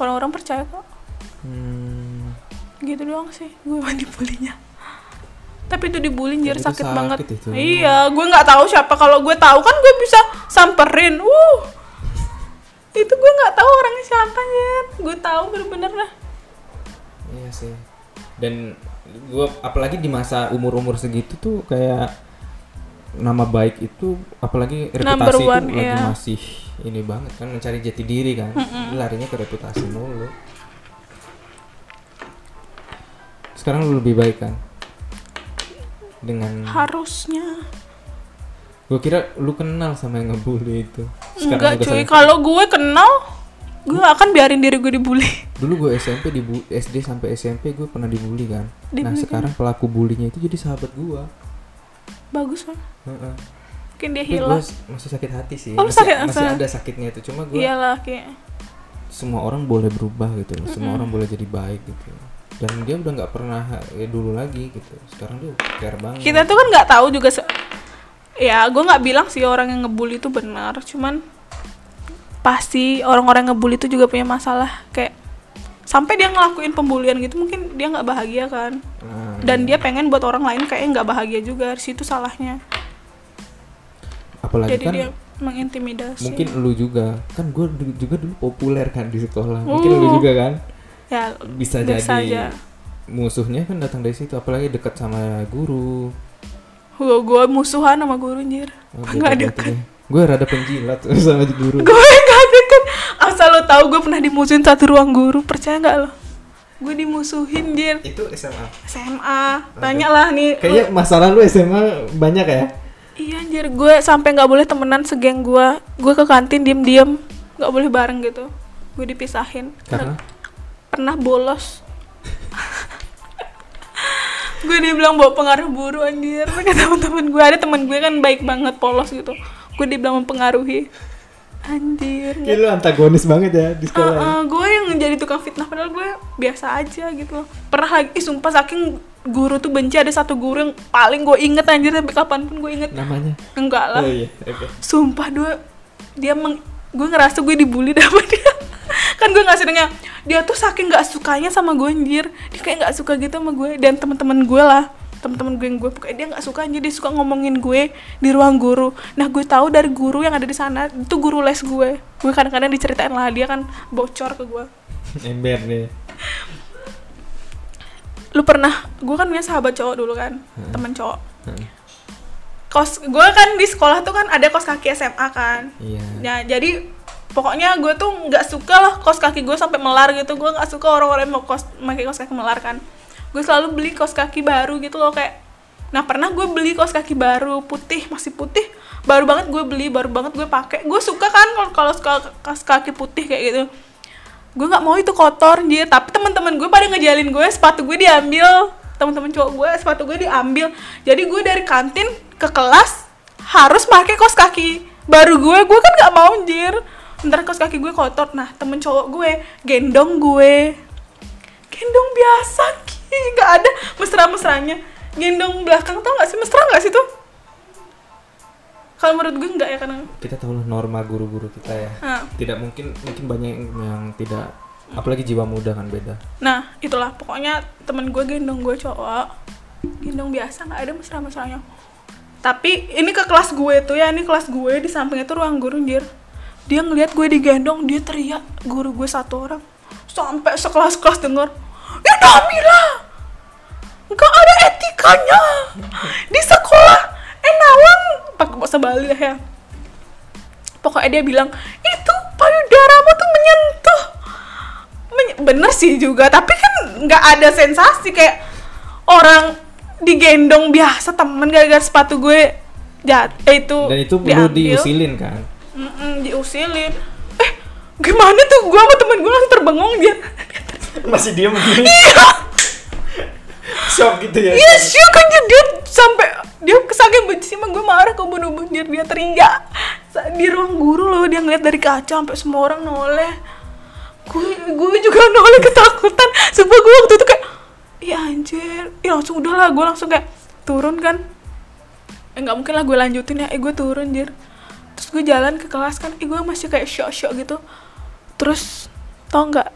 Speaker 2: orang-orang percaya kok
Speaker 1: Hmm,
Speaker 2: gitu doang sih gue mau dibulinya tapi itu dibully
Speaker 1: Dan
Speaker 2: anjir
Speaker 1: itu
Speaker 2: sakit,
Speaker 1: gitu sakit
Speaker 2: banget
Speaker 1: itu.
Speaker 2: iya gue nggak tahu siapa kalau gue tahu kan gue bisa samperin uh itu gue nggak tahu orangnya siapa anjir gue tahu bener-bener lah
Speaker 1: iya sih. Dan gua apalagi di masa umur-umur segitu tuh kayak nama baik itu apalagi
Speaker 2: Number
Speaker 1: reputasi
Speaker 2: one,
Speaker 1: itu
Speaker 2: iya.
Speaker 1: lagi masih ini banget kan mencari jati diri kan. Larinya ke reputasi mulu. Sekarang lu lebih baik kan? Dengan
Speaker 2: harusnya
Speaker 1: Gue kira lu kenal sama yang ngebully itu.
Speaker 2: enggak
Speaker 1: udah
Speaker 2: cuy
Speaker 1: saling-
Speaker 2: kalau gue kenal gue gak akan biarin diri gue dibully
Speaker 1: Dulu gue SMP di bu- SD sampai SMP gue pernah dibully kan. nah,
Speaker 2: Dibully
Speaker 1: sekarang pelaku bullying itu jadi sahabat gue.
Speaker 2: bagus lah
Speaker 1: Heeh.
Speaker 2: mungkin dia
Speaker 1: Tapi gue
Speaker 2: hilang
Speaker 1: masih sakit hati sih.
Speaker 2: Iya Oh, lu
Speaker 1: masih,
Speaker 2: sakit Iya.
Speaker 1: masih
Speaker 2: hati.
Speaker 1: ada sakitnya itu. Cuma gue
Speaker 2: iyalah kayak
Speaker 1: semua orang boleh berubah gitu. loh. Semua orang boleh jadi baik gitu. Dan dia udah nggak pernah ya, dulu lagi gitu. Sekarang dia care banget.
Speaker 2: kita tuh kan nggak tahu juga se- ya gue nggak bilang sih orang yang ngebully itu benar cuman pasti orang-orang yang ngebully itu juga punya masalah kayak sampai dia ngelakuin pembulian gitu mungkin dia nggak bahagia kan
Speaker 1: Nah,
Speaker 2: dan dia pengen buat orang lain kayaknya nggak bahagia juga di situ salahnya
Speaker 1: apalagi
Speaker 2: jadi
Speaker 1: kan
Speaker 2: dia mengintimidasi
Speaker 1: mungkin lu juga kan gue juga dulu populer kan di sekolah mungkin lu
Speaker 2: Uh.
Speaker 1: juga kan
Speaker 2: ya
Speaker 1: bisa,
Speaker 2: Bisa
Speaker 1: jadi
Speaker 2: aja.
Speaker 1: musuhnya kan datang dari situ apalagi dekat sama guru Oh,
Speaker 2: gue gue musuhan sama guru anjir nggak deket
Speaker 1: gue rada penjilat (laughs) sama guru
Speaker 2: gue nggak deket asal lo tahu gue pernah dimusuhin satu ruang guru percaya nggak lo gue dimusuhin jir
Speaker 1: itu SMA
Speaker 2: SMA tanyalah nih lu-
Speaker 1: kayaknya masalah lu SMA banyak ya
Speaker 2: Iya anjir, gue sampai nggak boleh temenan segeng gue. Gue ke kantin diem-diem, nggak boleh bareng gitu. Gue dipisahin.
Speaker 1: karena
Speaker 2: Pernah bolos. (laughs) gue dibilang bawa pengaruh buruk anjir. Kata teman-teman gue ada teman gue kan baik banget polos gitu. Gue dibilang mempengaruhi. Anjir.
Speaker 1: kayak lu antagonis banget ya di sekolah
Speaker 2: (laughs)
Speaker 1: ya.
Speaker 2: Heeh, gue Ah, yang jadi tukang fitnah padahal gue biasa aja gitu loh. Pernah lagi, ih, sumpah saking guru tuh benci ada satu guru yang paling gue inget anjir sampai kapanpun gue inget.
Speaker 1: namanya
Speaker 2: Enggak lah
Speaker 1: Nah. oh iya oke
Speaker 2: sumpah dia dia meng, gue ngerasa gue dibully sama dia kan gue nggak senengnya dia tuh saking nggak sukanya sama gue anjir dia kayak nggak suka gitu sama gue dan teman-teman gue lah teman-teman gue yang gue pokoknya dia nggak suka anjir dia suka ngomongin gue di ruang guru nah gue tahu dari guru yang ada di sana itu guru les gue gue kadang-kadang diceritain lah dia kan bocor ke gue
Speaker 1: ember nih
Speaker 2: lu pernah gue kan punya sahabat cowok dulu kan temen cowok
Speaker 1: Heeh.
Speaker 2: kos gue kan di sekolah tuh kan ada kos kaki SMA kan
Speaker 1: iya
Speaker 2: Nah, jadi pokoknya gue tuh nggak suka lah kos kaki gue sampai melar gitu. Gue nggak suka orang-orang yang mau kos pakai kos kaki melar kan. Gue selalu beli kos kaki baru gitu loh kayak. Nah, pernah gue beli kos kaki baru putih, masih putih. Baru banget gue beli, baru banget gue pakai. Gue suka kan kalau- kalau suka kos kaki putih kayak gitu. Gue nggak mau itu kotor dia, tapi teman-teman gue pada ngejalin gue, sepatu gue diambil. Teman-teman cowok gue, sepatu gue diambil. Jadi gue dari kantin ke kelas harus pakai kaos kaki baru gue gue kan nggak mau anjir ntar kaos kaki gue kotor nah temen cowok gue gendong gue gendong biasa ki nggak ada mesra-mesranya gendong belakang tau nggak sih mesra nggak sih tuh kalau menurut gue nggak ya karena
Speaker 1: kita tahu lah norma guru-guru kita ya
Speaker 2: Nah.
Speaker 1: tidak mungkin mungkin banyak yang yang tidak apalagi jiwa muda kan beda
Speaker 2: Nah, itulah pokoknya temen gue gendong gue cowok. Gendong biasa nggak ada mesra-mesranya. Tapi ini ke kelas gue tuh ya, ini kelas gue di sampingnya tuh ruang guru anjir. Dia ngelihat gue digendong, dia teriak guru gue satu orang. Sampai sekelas-kelas denger, "Ya Damila, nggak ada etikanya di sekolah enawang pakai bahasa Bali lah ya pokoknya dia bilang itu payudaramu tuh menyentuh Men- bener sih juga tapi kan nggak ada sensasi kayak orang digendong biasa temen gara-gara sepatu gue jat eh itu
Speaker 1: dan itu perlu
Speaker 2: diambil.
Speaker 1: diusilin kan
Speaker 2: Mm-mm, diusilin eh gimana tuh gue sama temen gue langsung terbengong dia
Speaker 1: masih dia (laughs) begini shock gitu ya
Speaker 2: Iya sih kan dia, dia sampai dia saking benci sama gue marah ke bunuh dia dia teriak Sa- di ruang guru loh dia ngeliat dari kaca sampai semua orang noleh gue gue juga noleh ketakutan sumpah gue waktu itu kayak ya anjir ya langsung udahlah gue langsung kayak turun kan eh nggak mungkin lah gue lanjutin ya eh gue turun jir terus gue jalan ke kelas kan eh gue masih kayak shock shock gitu terus tau nggak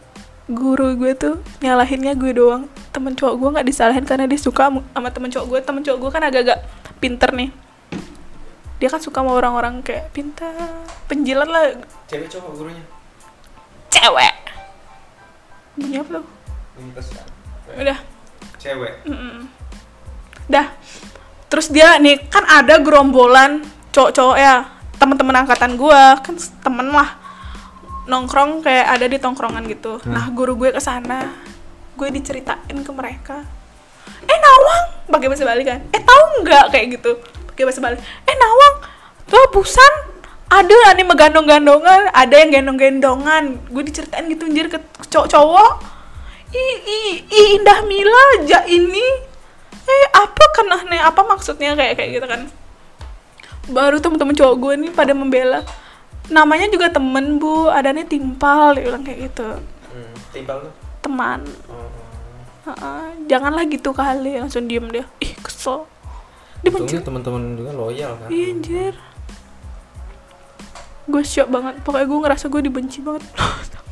Speaker 2: guru gue tuh nyalahinnya gue doang temen cowok gue nggak disalahin karena dia suka mu- sama temen cowok gue temen cowok gue kan agak-agak pinter nih dia kan suka sama orang-orang kayak pinter penjilat lah
Speaker 1: cewek cowok gurunya
Speaker 2: cewek bunyi apa tuh udah
Speaker 1: cewek
Speaker 2: Mm. dah terus dia nih kan ada gerombolan cowok-cowok ya teman-teman angkatan gua kan s- temen lah nongkrong kayak ada di tongkrongan gitu
Speaker 1: Hmm.
Speaker 2: nah guru gue ke sana gue diceritain ke mereka eh Nawang pakai bahasa Bali kan eh tahu nggak kayak gitu pakai bahasa Bali eh Nawang tuh busan ada lah nih megandong-gandongan ada yang gendong-gendongan gue diceritain gitu anjir ke cowok-cowok i i i indah mila ja ini eh apa kena nih apa maksudnya kayak kayak gitu kan baru temen-temen cowok gue nih pada membela namanya juga temen bu adanya timpal dia bilang kayak gitu
Speaker 1: timpal Hmm, tuh Oh.
Speaker 2: teman Heeh, janganlah gitu kali langsung diem dia ih kesel dia
Speaker 1: untungnya
Speaker 2: mencet
Speaker 1: teman-teman juga loyal kan
Speaker 2: iya anjir gue shock banget pokoknya gue ngerasa gue dibenci banget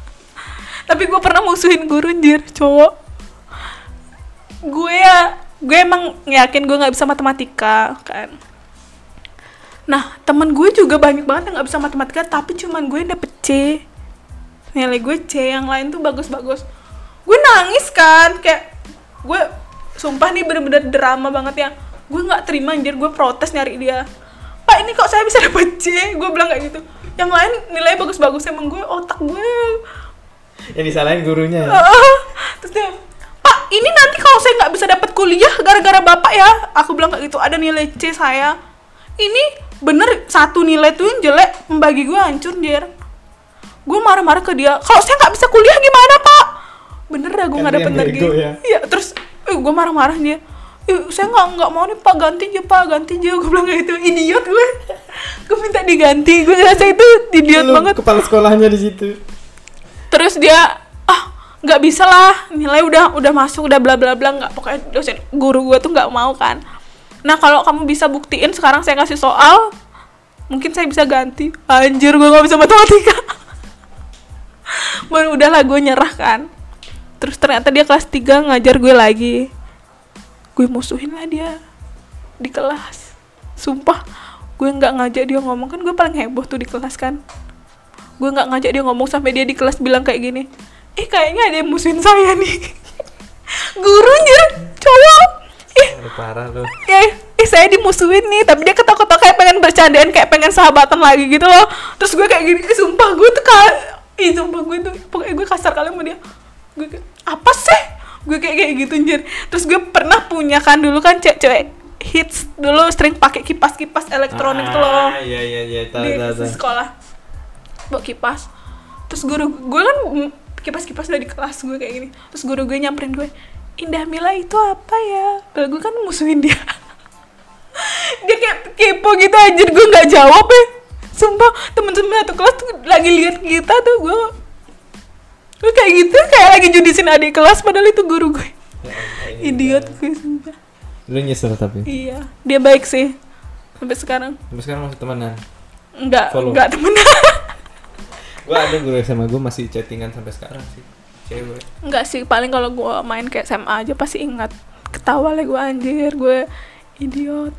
Speaker 2: (laughs) tapi gue pernah musuhin guru anjir cowok gue ya gue emang yakin gue nggak bisa matematika kan nah temen gue juga banyak banget yang nggak bisa matematika tapi cuman gue dapet C nilai gue C yang lain tuh bagus-bagus gue nangis kan kayak gue sumpah nih bener-bener drama banget yang gue nggak terima anjir gue protes nyari dia pak ini kok saya bisa (laughs) dapet C gue bilang kayak gitu yang lain nilai bagus-bagus emang gue otak gue
Speaker 1: Yang disalahin gurunya ya.
Speaker 2: Heeh. (laughs) terus dia pak ini nanti kalau saya nggak bisa dapat kuliah gara-gara bapak ya aku bilang kayak gitu ada nilai C saya ini bener satu nilai tuh yang jelek membagi gue hancur dir gue marah-marah ke dia kalau saya nggak bisa kuliah gimana pak bener dah gue
Speaker 1: Kan
Speaker 2: nggak
Speaker 1: dia
Speaker 2: dapet
Speaker 1: yang
Speaker 2: lagi
Speaker 1: bego ya.
Speaker 2: iya terus eh, gue marah-marah dia "Ih, saya nggak nggak mau nih pak ganti aja pak ganti aja gue bilang kayak gitu idiot (laughs) gue gue minta diganti gue ngerasa itu idiot
Speaker 1: Lu
Speaker 2: banget
Speaker 1: Kepala sekolahnya di situ.
Speaker 2: terus dia ah nggak bisa lah nilai udah udah masuk udah bla bla bla nggak pokoknya dosen guru gue tuh nggak mau kan nah kalau kamu bisa buktiin sekarang saya kasih soal mungkin saya bisa ganti anjir gue nggak bisa matematika baru udahlah gue nyerah kan terus ternyata dia kelas 3 ngajar gue lagi gue musuhin lah dia di kelas sumpah gue nggak ngajak dia ngomong kan gue paling heboh tuh di kelas kan gue nggak ngajak dia ngomong sampai dia di kelas bilang kayak gini eh kayaknya ada yang musuhin saya nih (laughs) gurunya cowok ih
Speaker 1: Aduh, parah lu.
Speaker 2: ya eh saya dimusuhin nih tapi dia ketok-ketok kayak pengen bercandaan kayak pengen sahabatan lagi gitu loh terus gue kayak gini "Ih, sumpah gue tuh ka ih sumpah gue tuh pokoknya gue kasar kali sama dia gue kayak, apa sih gue kayak kayak gitu anjir terus gue pernah punya kan dulu kan cewek-cewek hits dulu sering pakai kipas-kipas elektronik tuh loh
Speaker 1: Ah, Iya iya iya, tahu
Speaker 2: di
Speaker 1: tahu tahu.
Speaker 2: sekolah bawa kipas terus guru gue kan kipas kipas dari kelas gue kayak gini terus guru gue nyamperin gue Indah Mila itu apa ya Padahal gue kan musuhin dia (laughs) dia kayak kepo gitu anjir gue nggak jawab ya sumpah temen-temen satu kelas tuh lagi lihat kita tuh gue gue kayak gitu kayak lagi judisin adik kelas padahal itu guru gue
Speaker 1: Ya Allah, ini
Speaker 2: idiot gue sumpah
Speaker 1: Lu nyesel tapi.
Speaker 2: iya dia baik sih sampai sekarang
Speaker 1: Sampai sekarang masih temenan.
Speaker 2: nggak
Speaker 1: Follow.
Speaker 2: nggak temenan (laughs)
Speaker 1: Gua ada guru SMA gua masih chattingan sampai sekarang sih. Cewek.
Speaker 2: Enggak sih, paling kalau gue main kayak SMA aja pasti ingat ketawa lah gue anjir, gue idiot.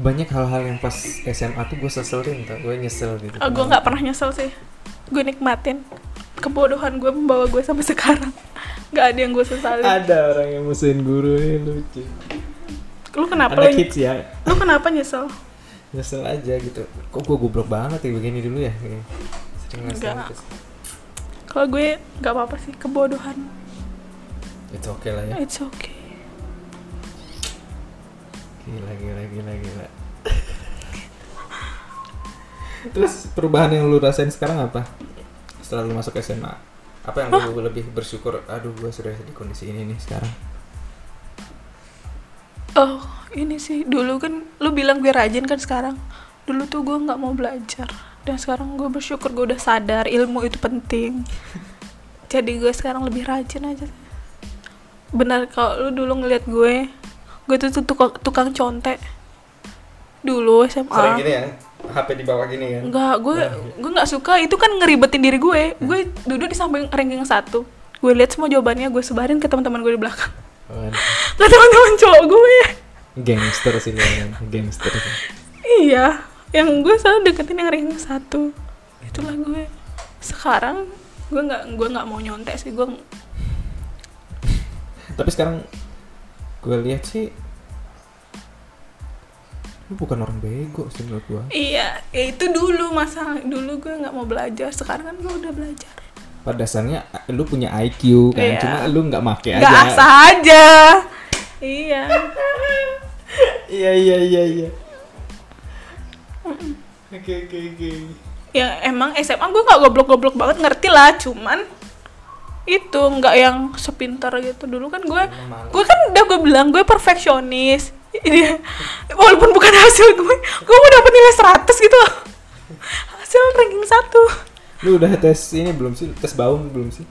Speaker 1: Banyak hal-hal yang pas SMA tuh gue seselin tuh, gue nyesel gitu.
Speaker 2: gue Oh, nggak pernah nyesel sih, gue nikmatin kebodohan gue membawa gue sampai (laughs) sekarang. Nggak ada yang gue sesalin.
Speaker 1: Ada orang yang musuhin guru ini lucu.
Speaker 2: Lu kenapa
Speaker 1: Ada
Speaker 2: lu,
Speaker 1: kids ya,
Speaker 2: lu kenapa nyesel?
Speaker 1: nyesel aja gitu. Kok gue goblok banget ya begini dulu ya? Kayak Sering nyesel gitu.
Speaker 2: Enggak.
Speaker 1: terus.
Speaker 2: Kalau gue nggak apa-apa sih, kebodohan.
Speaker 1: It's okay lah ya.
Speaker 2: It's okay.
Speaker 1: Gila, gila, gila, gila. Terus perubahan yang lu rasain sekarang apa? Setelah lu masuk SMA, apa yang lu lebih bersyukur? Aduh, gue sudah di kondisi ini nih sekarang.
Speaker 2: Oh, ini sih dulu kan lu bilang gue rajin kan sekarang. Dulu tuh gue nggak mau belajar dan sekarang gue bersyukur gue udah sadar ilmu itu penting. Jadi gue sekarang lebih rajin aja. Benar kalau lu dulu ngeliat gue, gue tuh tuh tukang, tukang contek. Dulu SMA.
Speaker 1: Sering gini ya, HP di bawah gini kan?
Speaker 2: Enggak, gue gue nggak suka. Itu kan ngeribetin diri gue. Gue duduk di samping ranking satu. Gue lihat semua jawabannya, gue sebarin ke teman-teman gue di belakang. (laughs)
Speaker 1: Waduh,
Speaker 2: Ke teman-teman cowok gue.
Speaker 1: Gangster sih lu, gangster.
Speaker 2: Iya, yang gue selalu deketin yang ranking satu. Itulah gue. Sekarang gue nggak gue nggak mau nyontek sih gue
Speaker 1: Tapi sekarang gue lihat sih lu bukan orang bego sih menurut gue.
Speaker 2: iya ya itu dulu masa dulu gue nggak mau belajar sekarang kan gue udah belajar
Speaker 1: Pada dasarnya lu punya IQ kan,
Speaker 2: Iya.
Speaker 1: cuma lu nggak make
Speaker 2: nggak
Speaker 1: Ya aja.
Speaker 2: asah aja iya
Speaker 1: Iya iya iya iya. Oke oke oke.
Speaker 2: ya emang SMA gue nggak goblok-goblok banget ngerti lah cuman itu nggak yang sepintar gitu dulu kan gue gue kan udah gue bilang gue perfeksionis ini walaupun bukan hasil gue gue mau dapet nilai 100 gitu loh. hasil ranking satu
Speaker 1: Lu udah tes ini belum sih? Tes baum belum sih?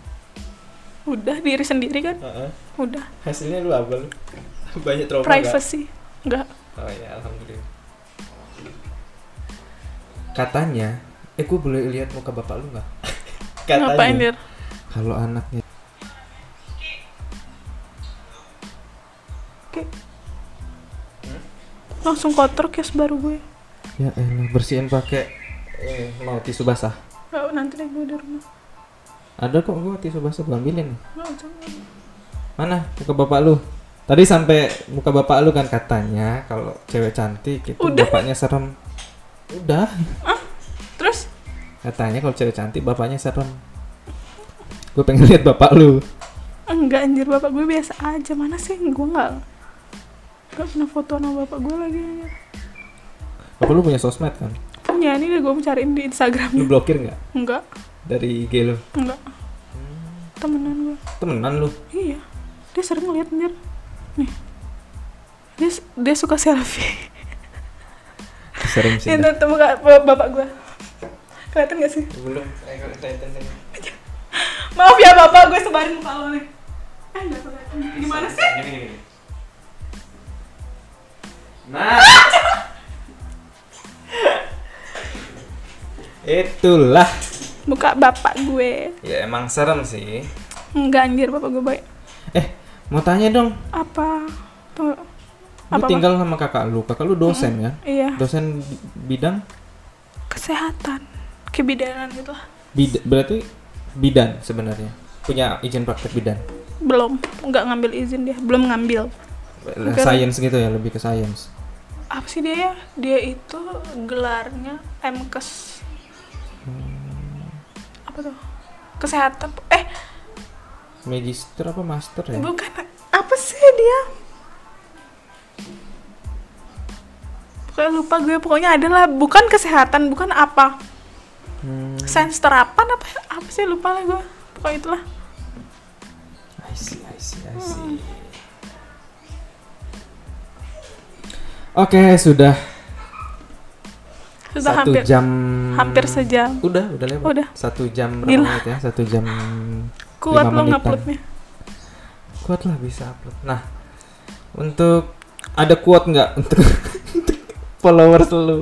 Speaker 2: udah diri sendiri kan
Speaker 1: Heeh.
Speaker 2: udah
Speaker 1: Hasilnya lu apa lu? Banyak trauma nggak?
Speaker 2: privacy nggak
Speaker 1: Oh ya alhamdulillah. Katanya, eh gue boleh lihat muka bapak lu nggak?
Speaker 2: ngapain
Speaker 1: (laughs) Katanya
Speaker 2: dir
Speaker 1: kalau anaknya
Speaker 2: Ki. Langsung kotor kios baru gue.
Speaker 1: Ya elah bersihin pakai eh, mau tisu basah.
Speaker 2: Oh, nanti deh gue di rumah.
Speaker 1: Ada kok gua tisu basah gua ambilin.
Speaker 2: Oh, jangan.
Speaker 1: Mana muka bapak lu? Tadi sampai muka bapak lu kan katanya kalau cewek cantik itu
Speaker 2: Udah.
Speaker 1: bapaknya serem. Udah.
Speaker 2: Terus
Speaker 1: Katanya kalau cewek cantik bapaknya serem. Gue pengen lihat bapak lu.
Speaker 2: enggak anjir bapak gue biasa aja mana sih gue nggak nggak pernah foto sama bapak gue lagi anjir.
Speaker 1: Bapak lu punya sosmed kan?
Speaker 2: punya ini deh gue mau cariin di
Speaker 1: Lu
Speaker 2: Instagramnya
Speaker 1: blokir nggak
Speaker 2: enggak
Speaker 1: dari IG lu?
Speaker 2: enggak temenan gue
Speaker 1: Temenan lu.
Speaker 2: iya dia sering ngeliat anjir nih dia dia suka selfie
Speaker 1: Serem sih.
Speaker 2: ini
Speaker 1: dah.
Speaker 2: temu kak- bap- bapak gue kelihatan gak sih
Speaker 1: Belum. Eh, kalau kelihatan tadi.
Speaker 2: maaf ya bapak gue sebarin muka lo nih eh nggak kelihatan gimana sih
Speaker 1: Gini, gini, gini. Nah. Itulah.
Speaker 2: muka bapak gue
Speaker 1: Ya emang serem sih.
Speaker 2: enggak anjir bapak gue baik
Speaker 1: Eh, mau tanya dong.
Speaker 2: apa tuh
Speaker 1: Lu
Speaker 2: Apa,
Speaker 1: tinggal sama kakak lu. Kakak lu dosen kan?
Speaker 2: iya
Speaker 1: Dosen bi- bidang
Speaker 2: kesehatan kebidanan gitu lah.
Speaker 1: bid berarti bidan sebenarnya. Punya izin praktek bidan.
Speaker 2: belum nggak ngambil izin dia belum ngambil Bukan.
Speaker 1: Science gitu ya, lebih ke science.
Speaker 2: apa sih dia ya dia itu gelarnya MKes
Speaker 1: Hmm.
Speaker 2: apa tuh kesehatan eh
Speaker 1: Magister apa master ya?
Speaker 2: bukan apa sih dia pokoknya lupa gue pokoknya adalah bukan kesehatan bukan apa
Speaker 1: Hmm,
Speaker 2: sains terapan apa ya? apa sih lupa lah gue pokoknya itulah
Speaker 1: I see, I see, I see. Oke, sudah
Speaker 2: sudah
Speaker 1: satu
Speaker 2: hampir
Speaker 1: jam.
Speaker 2: hampir sejam
Speaker 1: Udah, udah lewat.
Speaker 2: Udah.
Speaker 1: Satu jam berapa
Speaker 2: Gila.
Speaker 1: menit ya? Satu jam.
Speaker 2: kuat
Speaker 1: Lima
Speaker 2: lo
Speaker 1: menitan.
Speaker 2: nguploadnya
Speaker 1: Kuat lah bisa upload. Nah, untuk ada kuat nggak untuk (laughs) untuk followers lu?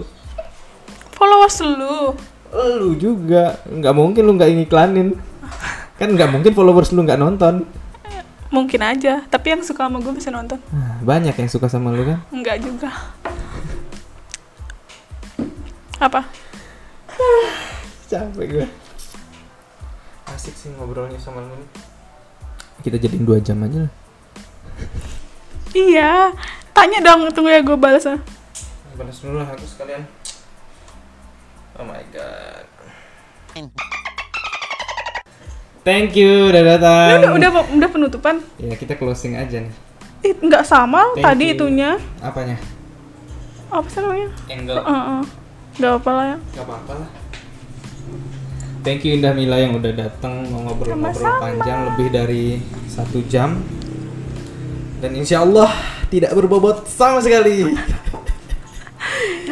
Speaker 2: followers lu
Speaker 1: Lu juga nggak mungkin lu nggak ngiklanin. Kan nggak mungkin followers lu nggak nonton.
Speaker 2: mungkin aja tapi yang suka sama gue bisa nonton
Speaker 1: Nah, banyak yang suka sama lu kan?
Speaker 2: enggak juga apa
Speaker 1: capek gue asik sih ngobrolnya sama lu kita jadiin dua jam aja lah
Speaker 2: iya tanya dong tunggu ya gue balas ah.
Speaker 1: balas dulu lah aku sekalian oh my god thank you udah datang
Speaker 2: udah udah udah penutupan
Speaker 1: ya kita closing aja nih
Speaker 2: Ih, nggak sama
Speaker 1: Thank
Speaker 2: tadi
Speaker 1: you.
Speaker 2: itunya
Speaker 1: apanya
Speaker 2: apa sih namanya
Speaker 1: angle
Speaker 2: Heeh. nggak apa lah ya
Speaker 1: Gak apa-apa lah. Thank you Indah Mila yang udah datang mau ngobrol-ngobrol
Speaker 2: Sama-sama.
Speaker 1: panjang lebih dari satu jam. Dan insya Allah tidak berbobot sama sekali.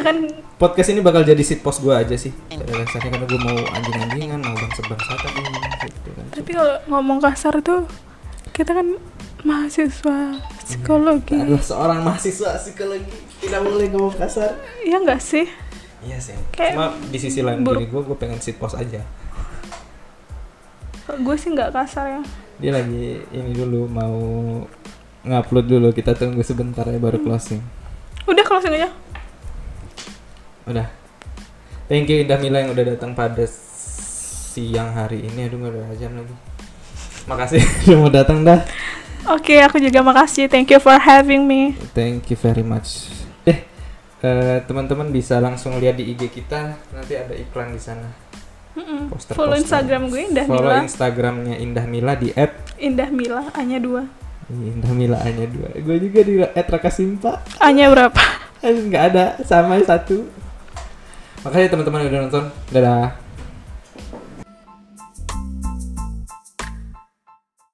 Speaker 2: Ya kan
Speaker 1: Podcast ini bakal jadi sit post gue aja sih. Pada Rasanya karena gue mau anjing-anjingan, mau bangsa-bangsa tapi gitu kan.
Speaker 2: tapi kalau ngomong kasar tuh kita kan mahasiswa
Speaker 1: Kita
Speaker 2: psikologi
Speaker 1: adalah seorang mahasiswa psikologi tidak boleh ngomong kasar.
Speaker 2: Iya nggak sih
Speaker 1: Iya sih.
Speaker 2: Kayak
Speaker 1: Cuma di sisi lain
Speaker 2: buruk.
Speaker 1: diri gue, gue pengen sit post aja.
Speaker 2: Kalau gue sih nggak kasar ya
Speaker 1: Dia lagi ini dulu mau ngupload dulu. Kita tunggu sebentar ya baru closing.
Speaker 2: udah closing aja
Speaker 1: Udah. Thank you Indah Mila yang udah datang pada siang hari ini. Aduh nggak ada jam lagi. Makasih (laughs) udah mau datang dah.
Speaker 2: oke aku juga makasih thank you for having me
Speaker 1: Thank you very much. Eh eh, teman-teman bisa langsung lihat di IG kita. Nanti ada iklan di sana.
Speaker 2: Mm-mm.
Speaker 1: Poster-poster.
Speaker 2: Follow Instagram gue Indah
Speaker 1: Follow
Speaker 2: Mila.
Speaker 1: Instagramnya Indah Mila di at
Speaker 2: Indah Mila, Anya dua.
Speaker 1: Indah Mila hanya dua. Gue juga di at Raka Simpa.
Speaker 2: Anya berapa?
Speaker 1: ya Eh, Nggak ada sama satu. Makasih teman-teman yang udah nonton. Dadah.